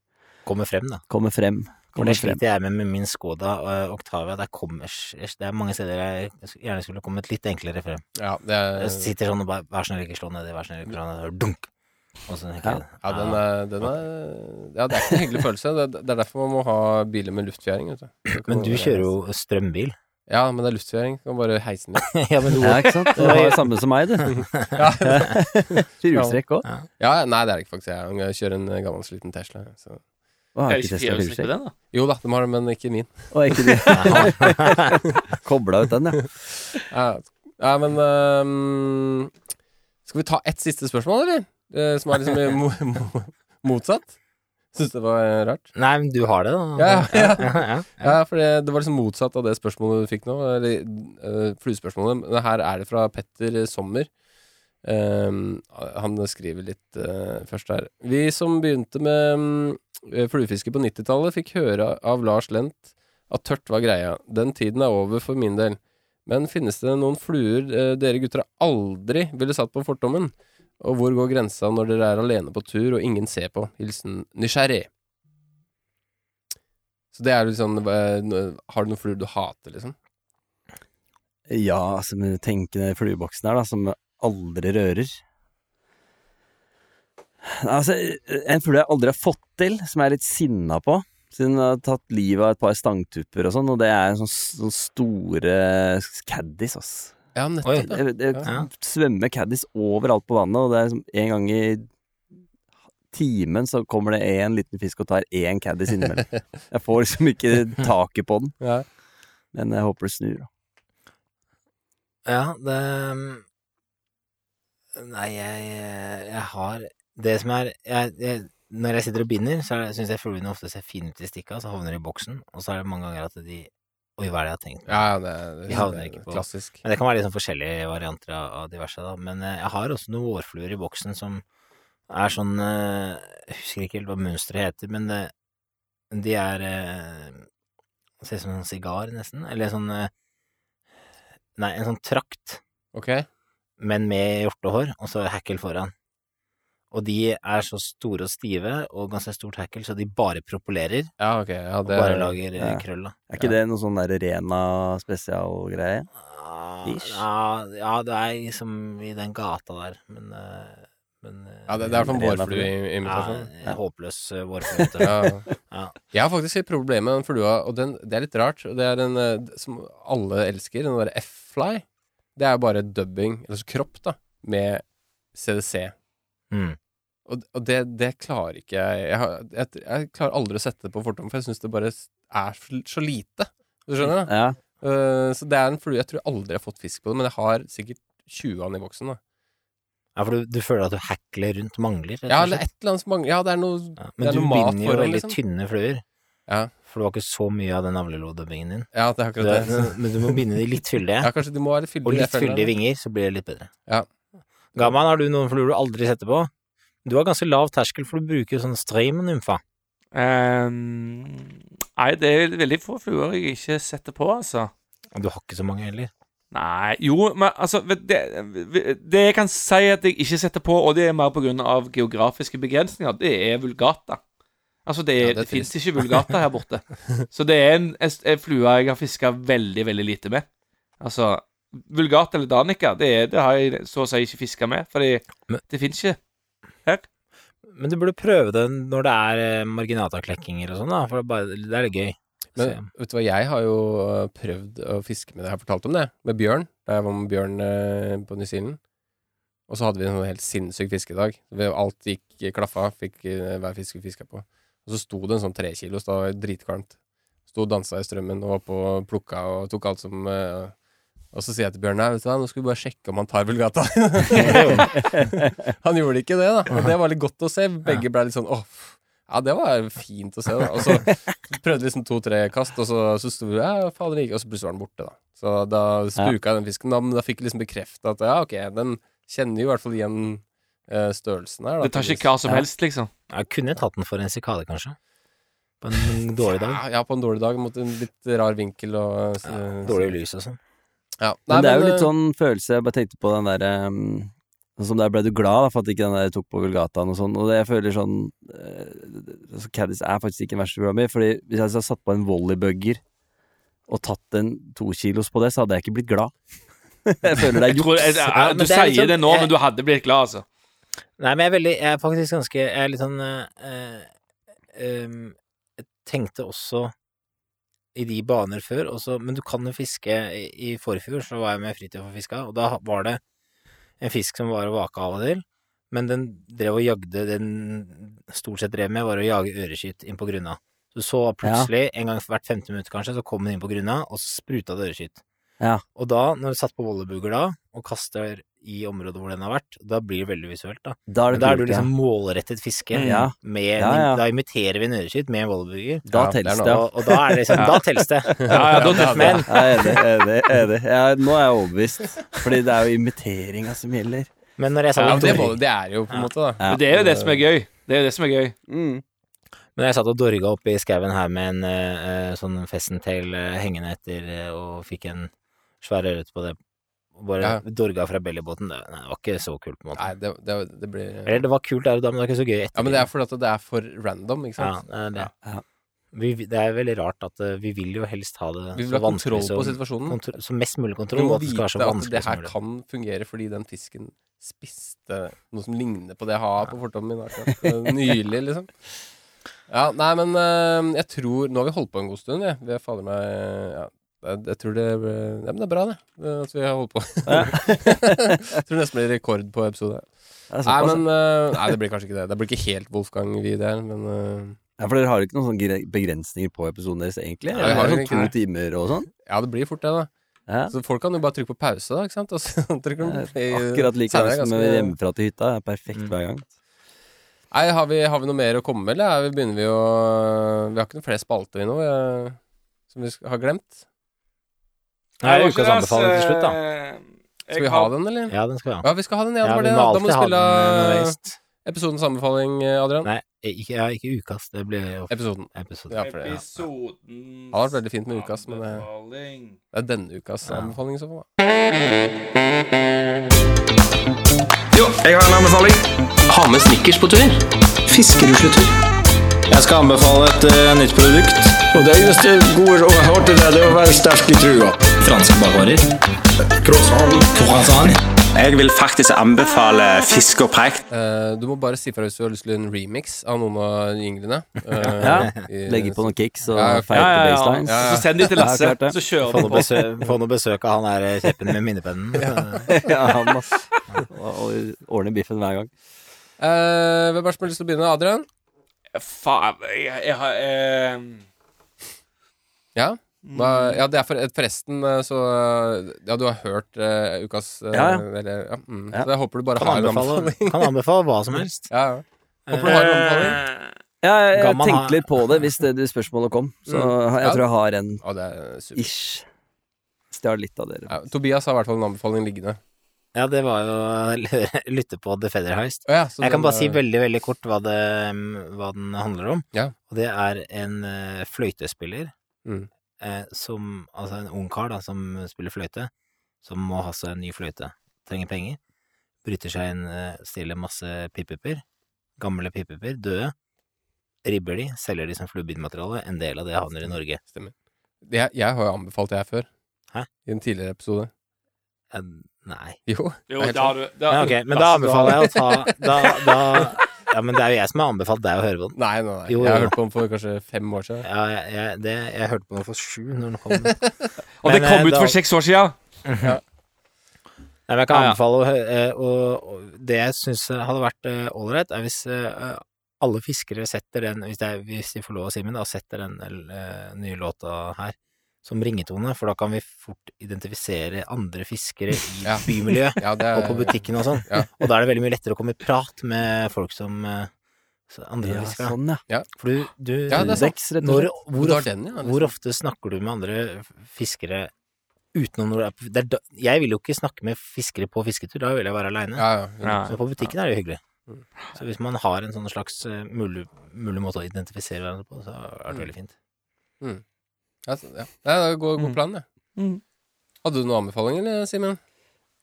S6: Kommer frem, da.
S9: Kommer frem.
S6: For det
S9: Kommer frem.
S6: sliter jeg med med min Skoda og Octavia. Der kommer, det er mange steder jeg gjerne skulle kommet litt enklere frem.
S1: ja, det er,
S6: Jeg sitter sånn og bare Vær snill, ikke slå nedi, vær snill, ikke slå nedi, og dunk! Og så tenker jeg "Ah."
S1: ja, den er, den er Ja, det er ikke en hyggelig følelse. Det er, det er derfor man må ha biler med luftfjæring. Vet du. Det kan
S6: Men du
S1: være-
S6: kjører jo strømbil.
S1: Ja, men det er luftfjæring. Du kan bare heise den litt.
S6: ja, men du
S9: Ja, ikke sant? Du har jo samme som meg, du. Firehjulstrekk òg.
S1: Ja, nei, det er det ikke faktisk jeg. Jeg kjører en eh, gammel, sliten Tesla. Så.
S9: Å,
S5: Er
S9: jeg
S5: det ikke
S9: har ikke testet
S5: firehjulstrekk på
S9: firehjulstrekk.
S5: den, da?
S1: Jo da, de har det, men ikke min.
S9: Å, er ikke det? Kobla ut den, ja.
S1: Ja, ja men ehm, Skal vi ta ett siste spørsmål, eller? Eh, som er liksom eh, mo mo motsatt. Syns det var eh, rart.
S6: Nei, men du har det, da.
S1: Ja, ja, ja.
S6: ja.
S1: Ja, for det, det var liksom motsatt av det spørsmålet du fikk nå. Eller eh, fluespørsmålet. Men her er det fra Petter Sommer. Ehm, han skriver litt eh, først her. Vi som begynte med mm, fluefiske på 90-tallet, fikk høre av Lars Lent at tørt var greia. Den tiden er over for min del. Men finnes det noen fluer eh, dere gutter aldri ville satt på fortommen? Og hvor går grensa når dere er alene på tur og ingen ser på? Hilsen nysgjerrig. Så det er jo sånn eh, n- Har du noen fluer du hater, liksom?
S9: Ja, altså, men tenk den flueboksen her, da, som aldri rører. Altså, en flue jeg aldri har fått til, som jeg er litt sinna på, siden jeg har tatt livet av et par stangtupper og sånn, og det er en sånn, sånn store caddis, ass.
S1: Ja,
S6: Oi.
S1: nettopp.
S9: Det, det
S6: Ja.
S9: svømmer caddis overalt på vannet, og det er liksom en gang i timen så kommer det en liten fisk og tar én caddis innimellom. Jeg får liksom ikke taket på den,
S1: Ja.
S9: men jeg håper det snur. da.
S6: ja det mm, Nei, jeg, jeg har Det som er jeg, jeg, Når jeg sitter og binder, så syns jeg fuglene ofte ser fine ut i stikka, så havner de i boksen, og så er det mange ganger at de Oi, hva er det jeg har tenkt?
S1: Ja, ja, det, det,
S6: Vi havner ikke på-
S1: klassisk.
S6: Men det kan være litt sånn forskjellige varianter av, av diverse, da. Men eh, jeg har også noen vårfluer i boksen som er sånn eh, Jeg husker ikke helt hva mønsteret heter, men det, de er eh, Ser ut som en sigar, nesten. Eller sånn eh, Nei, en sånn trakt,
S1: Ok.
S6: men med hjortehår, og så hackel foran. Og de er så store og stive, og ganske stort hackel, så de bare propolerer.
S1: Ja, ok. Ja,
S6: Og
S1: det,
S6: bare lager eh,
S9: ja.
S6: krøll, da.
S9: Er ikke det noe sånn der Rena spesialgreie?
S1: Ah,
S6: Ja,
S9: Ish.
S6: Ja, ja, det er liksom i den gata der, men, eh, men eh,
S1: ja, det, det er sånn
S9: Rena
S6: ja,
S1: vårflueimitasjon.
S6: en håpløs eh, vårfløyte.
S1: Ja.
S6: Ja.
S1: Jeg har faktisk et problem med den flua, og den, det er litt rart. og Det er en eh, som alle elsker, den derre F-fly. Det er bare dubbing, eller altså kropp, da, med CDC.
S6: Mm.
S1: Og, og det, det klarer ikke jeg jeg, har- jeg jeg klarer aldri å sette det på fortom, for jeg syns det bare er så lite. Du skjønner? da?
S9: Ja.
S1: Eh, så det er en flue jeg tror aldri jeg har fått fisk på det, men jeg har sikkert 20 av den i boksen. da
S6: ja, for du, du føler at du hackler rundt mangler, rett
S1: Ja,
S6: og
S1: eller
S6: slett.
S1: et eller annet som mangler. Ja, det er noe det
S6: Ja, men
S1: er
S6: du
S1: noe mat
S6: binder jo
S1: foran,
S6: veldig
S1: liksom.
S6: tynne fluer,
S1: Ja.
S6: for du har ikke så mye av den navlelodubbingen din.
S1: Ja, det er
S6: Du,
S1: akkurat det.
S6: er- men du må binde de litt fyldige,
S1: Ja, kanskje de må være litt fyldige.
S6: og litt
S1: jeg føler det.
S6: fyldige vinger, så blir det litt bedre.
S1: Ja.
S6: Gaman, har du noen fluer du aldri setter på? Du har ganske lav terskel, for du bruker jo sånn stream-nymfa.
S5: Ehm, nei, det er veldig få fluer jeg ikke setter på, altså.
S6: Og Du har ikke så mange heller.
S5: Nei Jo, men altså vet- det, det jeg kan si at jeg ikke setter på, og det er mer pga. geografiske begrensninger, det er vulgata. Altså, det,
S1: Ja, det
S5: er
S1: er
S5: det fins ikke vulgata her borte. Så det er en, en, en flue jeg har fiska veldig, veldig lite med. Altså, vulgata eller danica, det, er- det har jeg så å si ikke fiska med, fordi
S6: Men-
S5: det fins ikke.
S6: Men du burde prøve det når det er eh, marginataklekkinger og sånn, da, for det er, bare, det er litt gøy. Så,
S1: Men vet du hva, jeg har jo øh, prøvd å fiske med det, jeg har fortalt om det, med bjørn. Da jeg var med bjørn øh, på New Zealand. Og så hadde vi en sånn helt sinnssyk fiskedag. Vi- Alt gikk eh, klaffa, fikk øh, hver fisk vi fiska på. Og så sto det en sånn trekilos, da var det dritkvalmt. Sto og dansa i strømmen og var på og plukka og tok alt som øh, Og så sier jeg til Bjørn nei, vet du hva, nå skal vi bare sjekke om han tar vulgata. han gjorde ikke det, da. Og det var litt godt å se. Begge ble litt sånn åh. Ja, det var fint å se, da. Og så prøvde liksom to-tre kast, og så, så sto vi ja, fader ikke, og så plutselig var den borte, da. Så da spuka jeg den fisken, da, men da fikk jeg liksom bekrefta at ja, ok, den kjenner jo i hvert fall igjen eh, størrelsen her. da,
S5: Det tar ikke
S1: tydeligvis.
S5: hva som helst, liksom.
S6: Jeg kunne tatt den for en sikade, kanskje. På en dårlig dag. Eh,
S1: Ja, ja, på en dårlig dag mot en litt rar vinkel og så-
S6: Dårlig lys og sånn.
S1: Ja. Nei,
S9: Men det er jo
S1: men,
S9: litt
S1: eh,
S9: sånn følelse Jeg bare tenkte på den derre Sånn som der ble du glad da, for at ikke den der tok på Vulgataen og sånn. Og det jeg føler sånn eh, altså, Caddis er faktisk ikke den verste flua mi. Fordi hvis jeg hadde satt på en volleybugger og tatt en tokilos på det, så hadde jeg ikke blitt glad. jeg føler det er
S5: Jeg tror, jeg, jeg,
S6: Ja, men
S5: du
S6: det er litt
S5: sier
S6: sånn-
S5: det nå, men du hadde blitt glad, altså.
S6: Nei, men jeg er veldig Jeg er faktisk ganske Jeg er litt sånn eh, eh, um, Jeg tenkte også i de baner før, og så Men du kan jo fiske I, i forfjor så var jeg med fritid og fiska, og da var det en fisk som var å vake av og til, men den drev og jagde Den stort sett drev med, var å jage øreskyt inn på grunna. Så så plutselig, en gang hvert femte minutt kanskje, så kom den inn på grunna, og så spruta det øreskyt.
S9: Ja.
S6: Og da, når du satt på volleybuger da, og kaster i området hvor den har vært, da blir det veldig visuelt, da.
S9: Da
S6: Men
S9: er det
S6: da er du
S9: kult, ja.
S6: liksom målrettet fiske.
S9: Mm. Ja.
S6: Med,
S9: Ja, ja.
S6: Da imiterer vi en øreskytt med en volleyburger.
S9: Da
S1: eh, Ja, det er
S9: telles
S1: noe.
S9: det, ja.
S6: Og, og da er det liksom, da telles det.
S5: Ja, ja, da treffer
S6: Men
S9: Jeg er enig, enig, enig. Jeg, nå er jeg overbevist. Fordi det er jo imiteringa som gjelder.
S6: Men når
S1: ja,
S6: jeg satt
S1: men
S6: og
S1: det,
S6: dorga,
S1: må, det er jo på en måte, da.
S5: Men det er jo det som er gøy. Det er jo det som er gøy.
S6: men jeg satt og dorga oppe i skauen her med en eh, eh, sånn fessentail eh, hengende etter, eh, og fikk en svær ørret på det. Bare
S1: Ja.
S6: dorga fra bellybåten. Det, nei, det var ikke så kult, på en måte.
S1: Nei, det, det, det blir
S6: Eller det var kult der og da, men det var ikke så gøy etterpå.
S1: Ja, men det er fordi at det er for random, ikke
S6: ja,
S1: sant.
S6: det, er det.
S9: Ja.
S6: Vi, det er veldig rart at eh, vi vil jo helst ha det
S1: Vi vil
S6: så
S1: ha
S6: vanskelig
S1: kontroll på
S6: som
S1: situasjonen.
S6: kontro- Så mest mulig
S1: Vi
S6: kontroll,
S1: må
S6: og at det skal
S1: vite
S6: være så
S1: at det
S6: vanskelig som
S1: her
S6: mulig.
S1: kan fungere fordi den fisken spiste noe som ligner på det jeg har på fortommen min akkurat eh, nylig, liksom. Ja, nei, men eh, jeg tror Nå har vi holdt på en god stund, vi. Vi er fader meg ja, jeg, jeg tror det eh, Ja, men det er bra, det. eh, At vi har holdt på. jeg tror nesten blir rekord på episode.
S9: Det
S1: Nei,
S9: er såpass,
S1: men eh, Nei, det blir kanskje ikke det. Det blir ikke helt Wolfgang vi der, men eh,
S9: ja, for dere har jo ikke noen sånne gre- begrensninger på episoden deres, egentlig?
S1: Nei, vi
S9: Det
S1: har
S9: er
S1: jo
S9: sånn to
S1: egentlig
S9: timer og sånn.
S1: Ja, det blir fort det, da.
S9: Ja.
S1: Så folk kan jo bare trykke på pause, da, ikke sant? Og så trykker de play.
S9: Akkurat like
S1: Senere er
S9: langt som
S1: ganske- Mm.
S9: hjemmefra til hytta. Det er perfekt hver gang.
S1: Nei, har vi, har vi noe mer å komme med, eller er vi, begynner vi å Vi har ikke noen flere spalter vi nå, eh, som vi sk- har glemt?
S6: Nå er
S5: Jeg
S6: det
S5: var
S6: ukas
S5: ikke altså. der, så-
S6: anbefaling til slutt, da.
S5: eh, Jeg
S1: Skal vi ha
S5: har-
S1: den, eller?
S6: Ja, den skal vi ha.
S1: Ja, vi skal ha den. Ja, det
S6: Ja,
S1: var
S6: vi
S1: det.
S6: må
S1: Da må
S6: alltid
S1: du
S6: ha den
S1: spille
S6: eh,
S1: eh,
S6: underveis.
S1: episodens anbefaling, eh, Adrian.
S6: Nei, ikke, ja, ikke ukas. Det blir jo
S1: Episoden.
S6: episode.
S1: Ja, for det, ja.
S5: Episoden
S1: Hadde vært veldig fint med ukas, men, eh,
S5: anbefaling.
S1: det er denne ukas anbefaling i så fall. da.
S7: Jo, jeg har en anbefaling.
S2: Ha med snickers på tur.
S7: Fiskerusletur. Jeg skal anbefale et eh, nytt produkt. Og det eneste gode rådet jeg har til det, det er å være sterk i trua. Franske bakvarer. Croissant. Jeg vil faktisk anbefale fisk og preik.
S1: Eh, du må bare si fra hvis du har lyst til en remix av noen av jinglene. eh,
S9: Ja,
S1: i-
S9: Legge på noen kicks og
S1: Ja, ja,
S9: feite baselines.
S5: Så så send de til Lasse,
S9: Ja, klart det.
S5: så kjører
S6: Få
S5: vi
S6: noe
S5: på.
S6: besøk, få noe besøk av han der eh, kjeppen med minnepennen. Eh,
S9: Ja, han, ass. Og- og ordne biffen hver gang.
S1: Eh, hvem er det som har lyst til å begynne? Adrian?
S5: Faen, jeg, jeg har eh,
S1: Ja? Da,
S6: Mm.
S1: ja, det er for, forresten eh, så eh, Ja, du har hørt eh, ukas eh,
S9: Ja, ja.
S1: Eller, ja, mm,
S9: Ja.
S1: Så jeg håper du bare
S6: Kan
S1: har en
S6: anbefale,
S1: anbefaling.
S6: kan anbefale hva som helst. Eh,
S1: Ja, ja. Håper du har en anbefaling.
S9: Ja, jeg, jeg
S6: Gammal har-
S9: tenkte litt på det hvis det, det spørsmålet kom, så jeg
S1: Mm. Ja.
S9: tror jeg har en
S1: Å, det er supert.
S9: ish. Stjal litt av dere.
S1: Ja, Tobias har i hvert fall en anbefaling liggende.
S6: Ja, det var jo å lytte på The Feather Heist.
S1: Å, ja, så
S6: Jeg kan
S1: den,
S6: bare si
S1: eh,
S6: veldig veldig kort hva, det, hva den handler om.
S1: Ja.
S6: Og det er en eh, fløytespiller
S1: Mm.
S6: eh, som Altså en ung kar da, som spiller fløyte, som må ha seg en ny fløyte. Trenger penger. Bryter seg inn, eh, stjeler masse pipeper. Gamle pipeper, døde. Ribber de, selger de som fluorbinnmateriale. En del av det havner i Norge.
S1: jeg, jeg har jo anbefalt det her før.
S6: Hæ?
S1: I en tidligere episode.
S6: Eh, Nei.
S1: Jo.
S5: Jo,
S1: Helt
S5: da har du da,
S6: Ja, ok, men da anbefaler jeg å ta da, da, Ja, men det er jo jeg som har anbefalt deg å høre på den.
S1: Nei, nei, nei.
S6: Jo,
S1: jeg har
S6: jo.
S1: hørt på den for kanskje fem år siden.
S6: Ja, jeg, jeg, det, jeg hørte på den for sju når den kom.
S5: Og det
S6: Men,
S5: kom
S6: eh,
S5: ut
S6: da-
S5: for seks år siden.
S6: Nei, men jeg kan
S5: Ja, ja.
S6: anbefale å hø- eh, og, og det jeg syns hadde vært eh, ålreit, er hvis eh, alle fiskere setter den, hvis, det er, hvis de får lov å si min, da, setter den eh, nye låta her som ringetone, for da kan vi fort identifisere andre fiskere i
S1: Ja.
S6: bymiljø
S1: Ja, det er,
S6: og på butikken og sånn.
S1: Ja.
S6: Og da er det veldig mye lettere å komme i prat med folk som eh, så- andre
S9: Ja,
S6: fiskere.
S9: sånn, ja.
S6: For du, du
S1: Ja, det er sant.
S9: Deks, rett og
S6: når,
S9: slett.
S6: hvor,
S1: Du har
S6: ofte,
S1: den, ja, liksom.
S6: hvor ofte snakker du med andre fiskere utenom når du er på det er da, Jeg vil jo ikke snakke med fiskere på fisketur, da vil jeg være aleine.
S1: Ja, ja.
S5: Ja.
S6: Men på butikken er det jo hyggelig.
S1: Mm.
S6: Så hvis man har en sånn slags eh, mulig, mulig måte å identifisere hverandre på, så
S1: Mm.
S6: er det veldig fint.
S1: Ja, så- ja. Nei, det er god,
S6: Mm.
S1: god plan, det. Hadde du noen anbefaling, eller, Simen?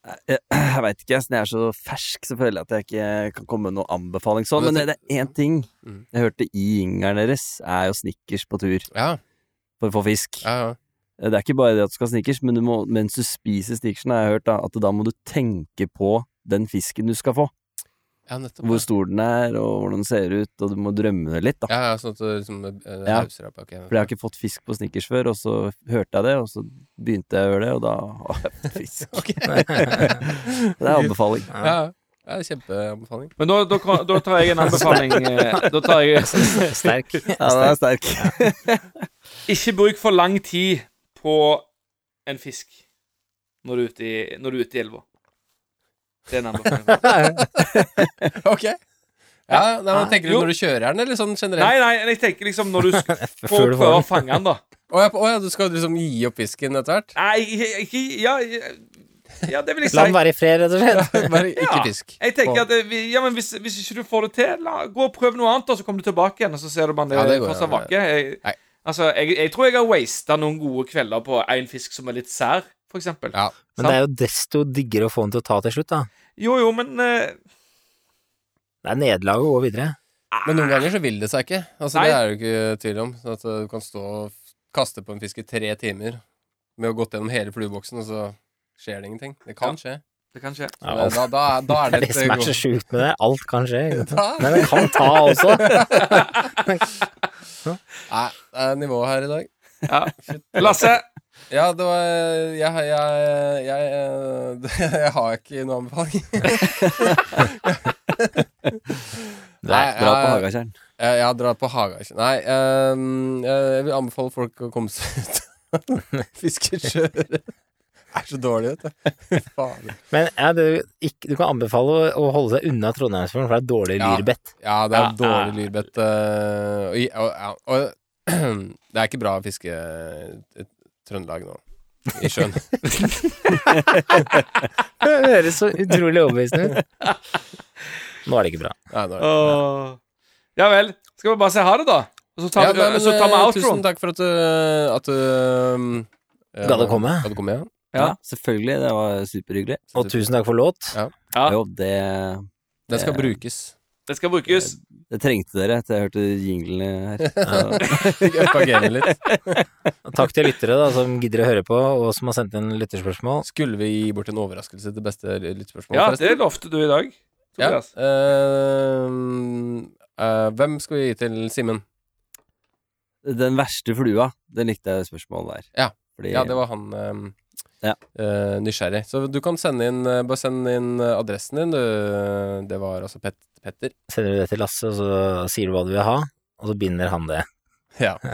S9: Jeg, jeg veit ikke, siden jeg er så fersk, så føler jeg at jeg ikke kan komme med noen anbefaling sånn. Men det, det er én ting
S1: Mm.
S9: jeg hørte i jingeren deres, er jo snickers på tur
S1: Ja,
S9: for å få fisk.
S1: ja, ja.
S9: Det er ikke bare det at du skal ha snickers, men du må, mens du spiser snickersen, har jeg hørt da, at da må du tenke på den fisken du skal få.
S1: ja nettopp.
S9: Hvor
S1: Ja,
S9: stor den er, og hvordan den ser ut, og du må drømme det litt, da.
S1: ja, ja sånn at du liksom eh,
S9: Ja.
S1: hauser opp. ok.
S9: For jeg har ikke fått fisk på snickers før, og så hørte jeg det, og så begynte jeg å gjøre det, og da har jeg fått fisk. det er anbefaling.
S1: Ja, ja. ja det er kjempeanbefaling.
S5: Men da, da, kan- da tar jeg en anbefaling. eh, Da tar jeg
S6: Sterk.
S9: Ja, den er sterk.
S5: Ikke bruk for lang tid på en fisk når du er ute i, når du er ute i elva. Det er en anbefaling.
S1: Ok. Ja, nei, men Tenker du
S5: Jo.
S1: når du kjører den, eller sånn
S5: Nei,
S1: generelt?
S5: nei, jeg tenker liksom når du sk- får
S6: Før du får
S5: prøve
S6: den.
S5: å fange den, da.
S1: Å ja, på- å ja, du skal liksom gi opp fisken etter hvert?
S5: Nei, ikke- ikke Ja, ja det vil jeg
S6: La den
S5: si.
S6: være i fred, rett og slett.
S1: Bare ikke
S5: Ja.
S1: fisk.
S5: Jeg tenker at det, vi- ja, men hvis, hvis ikke du får det til, la, gå og prøv noe annet, og så kommer du tilbake igjen, og så ser du om han
S1: Ja,
S5: er
S1: det går,
S5: fortsatt
S1: ja.
S5: vake. Jeg,
S1: Nei.
S5: altså, jeg, jeg tror jeg har wasta noen gode kvelder på en fisk som er litt sær, for eksempel.
S1: Ja.
S6: Men det er jo desto diggere å få den til å ta til slutt, da.
S5: Jo, jo, men eh,
S6: Det er nederlaget å gå videre.
S1: Men noen ganger så vil det seg ikke. Altså,
S5: Nei.
S1: det er det jo ikke tvil om. Sånn at eh, du kan stå og f- kaste på en fisk i tre timer med å ha gått gjennom hele flueboksen, og så skjer det ingenting. Det kan skje.
S5: Det kan skje.
S1: Så det- da, da, er- da er
S6: Det
S1: det
S6: er det
S1: et
S6: som
S1: eh,
S6: er så
S1: godt
S6: sjukt med det. Alt kan skje. ikke sant?
S1: Da-
S6: Men den kan ta også.
S1: Nei, det er nivå her i dag.
S5: Ja. Lasse!
S1: Ja, det var Jeg, jeg, jeg, jeg, eh, jeg har ikke noen anbefaling.
S9: Det er bra på
S1: jeg,
S9: Hagatjern.
S1: jeg, jeg drar på Haga. ikke? Nei, ehm, jeg vil anbefale folk å komme seg ut. Fiskekjøret er så dårlig, vet du. Fy Faen.
S6: Men ja, du, ikke, du kan anbefale å- å holde seg unna Trondheimsfjorden, for det er dårlig
S1: Ja.
S6: lyrbett.
S1: Ja, det er
S5: Ja,
S1: dårlig lyrbett. eh, og, i- og, ja, og det er ikke bra å fiske i Trøndelag nå. i sjøen.
S6: Det høres så utrolig overbevisende ut. Nå er det ikke bra.
S1: Nei, nå er det-
S5: Åh. Ja vel. Skal vi bare si ha det, da? Og så tar,
S1: Ja,
S5: vi-
S1: nei, men,
S5: så tar vi
S1: eh,
S5: outroen.
S1: Tusen takk for at du At du um, ja,
S6: Gadd å komme.
S1: gadd å komme, ja.
S5: Ja.
S9: Selvfølgelig. Det var superhyggelig.
S6: Og tusen takk for låt.
S5: Ja.
S9: Jo, det,
S1: Den skal
S9: Eh,
S1: brukes.
S5: Det skal brukes.
S9: det trengte dere etter jeg hørte jinglene her.
S1: Øke gamet litt.
S6: Og takk til lyttere da, som gidder å høre på, og som har sendt inn lytterspørsmål.
S1: Skulle vi gi bort en overraskelse til beste lyttspørsmål,
S5: Ja, det lovte du i dag.
S1: Ja.
S5: Tobias.
S1: Ehm, eh, hvem skal vi gi til Simen?
S9: Den verste flua, den likte jeg spørsmålet der.
S1: Ja.
S9: Fordi,
S1: Ja, det var han ehm,
S9: Ja.
S1: eh, nysgjerrig. Så du kan sende inn eh, Bare send inn eh, adressen din, du. Det var altså Pet Petter.
S6: Sender du det til Lasse, og så sier du hva du vil ha, og så binder han det.
S1: Ja. du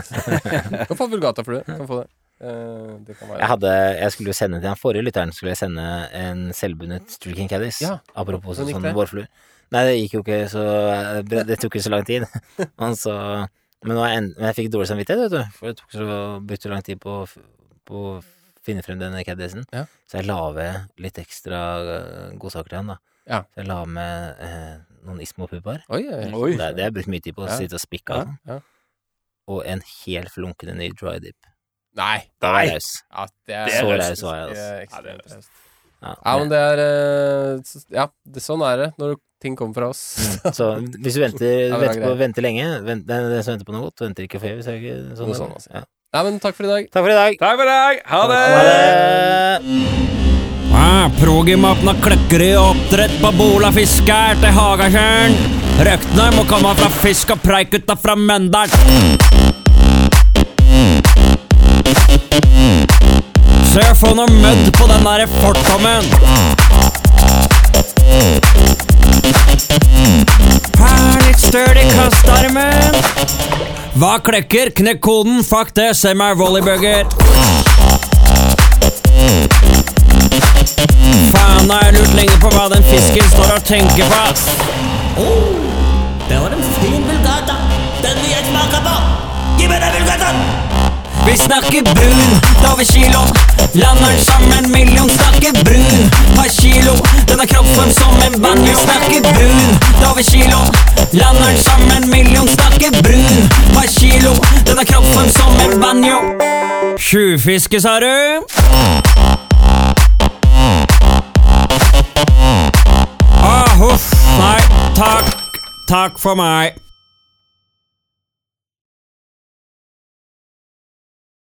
S1: kan få Vulgata-flue. Kan få det. Eh, det kan være
S6: Jeg, hadde, jeg skulle jo sende til den forrige lytteren skulle jeg sende en selvbundet Streaking Caddies.
S1: Ja.
S6: Apropos
S1: Hvordan gikk
S6: sånn
S1: det?
S6: vårfluer. Nei, det gikk jo ikke så Det tok ikke så lang tid. Men, så, men, nå har jeg en, men jeg fikk dårlig samvittighet, vet du. For det tok så, brukte så lang tid på, å f- på å finne frem denne Caddiesen.
S1: Ja.
S6: Så jeg la ved litt ekstra eh, godsaker til han, da.
S1: Ja.
S6: Så jeg la med eh, noen Ismo-pupper.
S1: Oi, oi.
S5: Oi.
S6: Det, det har jeg brukt mye tid på å
S1: Ja.
S6: sitte og spikke
S1: Ja,
S6: av. sånn.
S1: ja.
S6: Og en helt flunkende ny dry dip.
S1: Nei.
S6: Raus.
S1: Ja, det er,
S6: Det er Så raust. raust var jeg,
S1: Eh,
S6: altså.
S5: Ja, det er
S1: ekstremt
S5: raust.
S1: raust.
S6: Ja,
S1: Ja, men det er eh, s- Ja, det, sånn er det når ting kommer fra oss.
S6: Så hvis du venter,
S1: Ja, det var
S6: venter, på,
S1: greit.
S6: venter lenge vent, Den den som venter på noe godt, venter ikke for evig. så er det
S1: Noe
S6: ikke Sånn, det
S1: sånn,
S6: går.
S1: altså.
S6: ja.
S1: Nei, men takk for i dag.
S6: Takk for i dag!
S5: Takk for i dag. Ha det!
S6: Ha det!
S10: Ah, Progimaten har kløkkeri og oppdrett på bolafisk her til Hagatjørn. Røktene må komme fra fisk og preik ut av fra Møndalen. Se, få noe mødd på den derre fortommen. Her, litt støl i kastarmen. Hva klekker? Knekk koden, fuck det, send meg volleybugger. Faen, har jeg lurt lenge på hva den fisken står og tenker på. Oh, det var en fin vulgata. Den vil jeg smake på. Gi meg den vulgataen! Vi snakker brun, da har vi kilo. Lander den som en million. Snakker brun, har kilo. Den har kroppsform som en banjo. Snakker brun, da har vi kilo. Lander den som en million. Snakker brun, har kilo. Den har kroppsform som en banjo. Tjuvfiske, sa du? Ah, huff. Nei, takk. Takk for meg.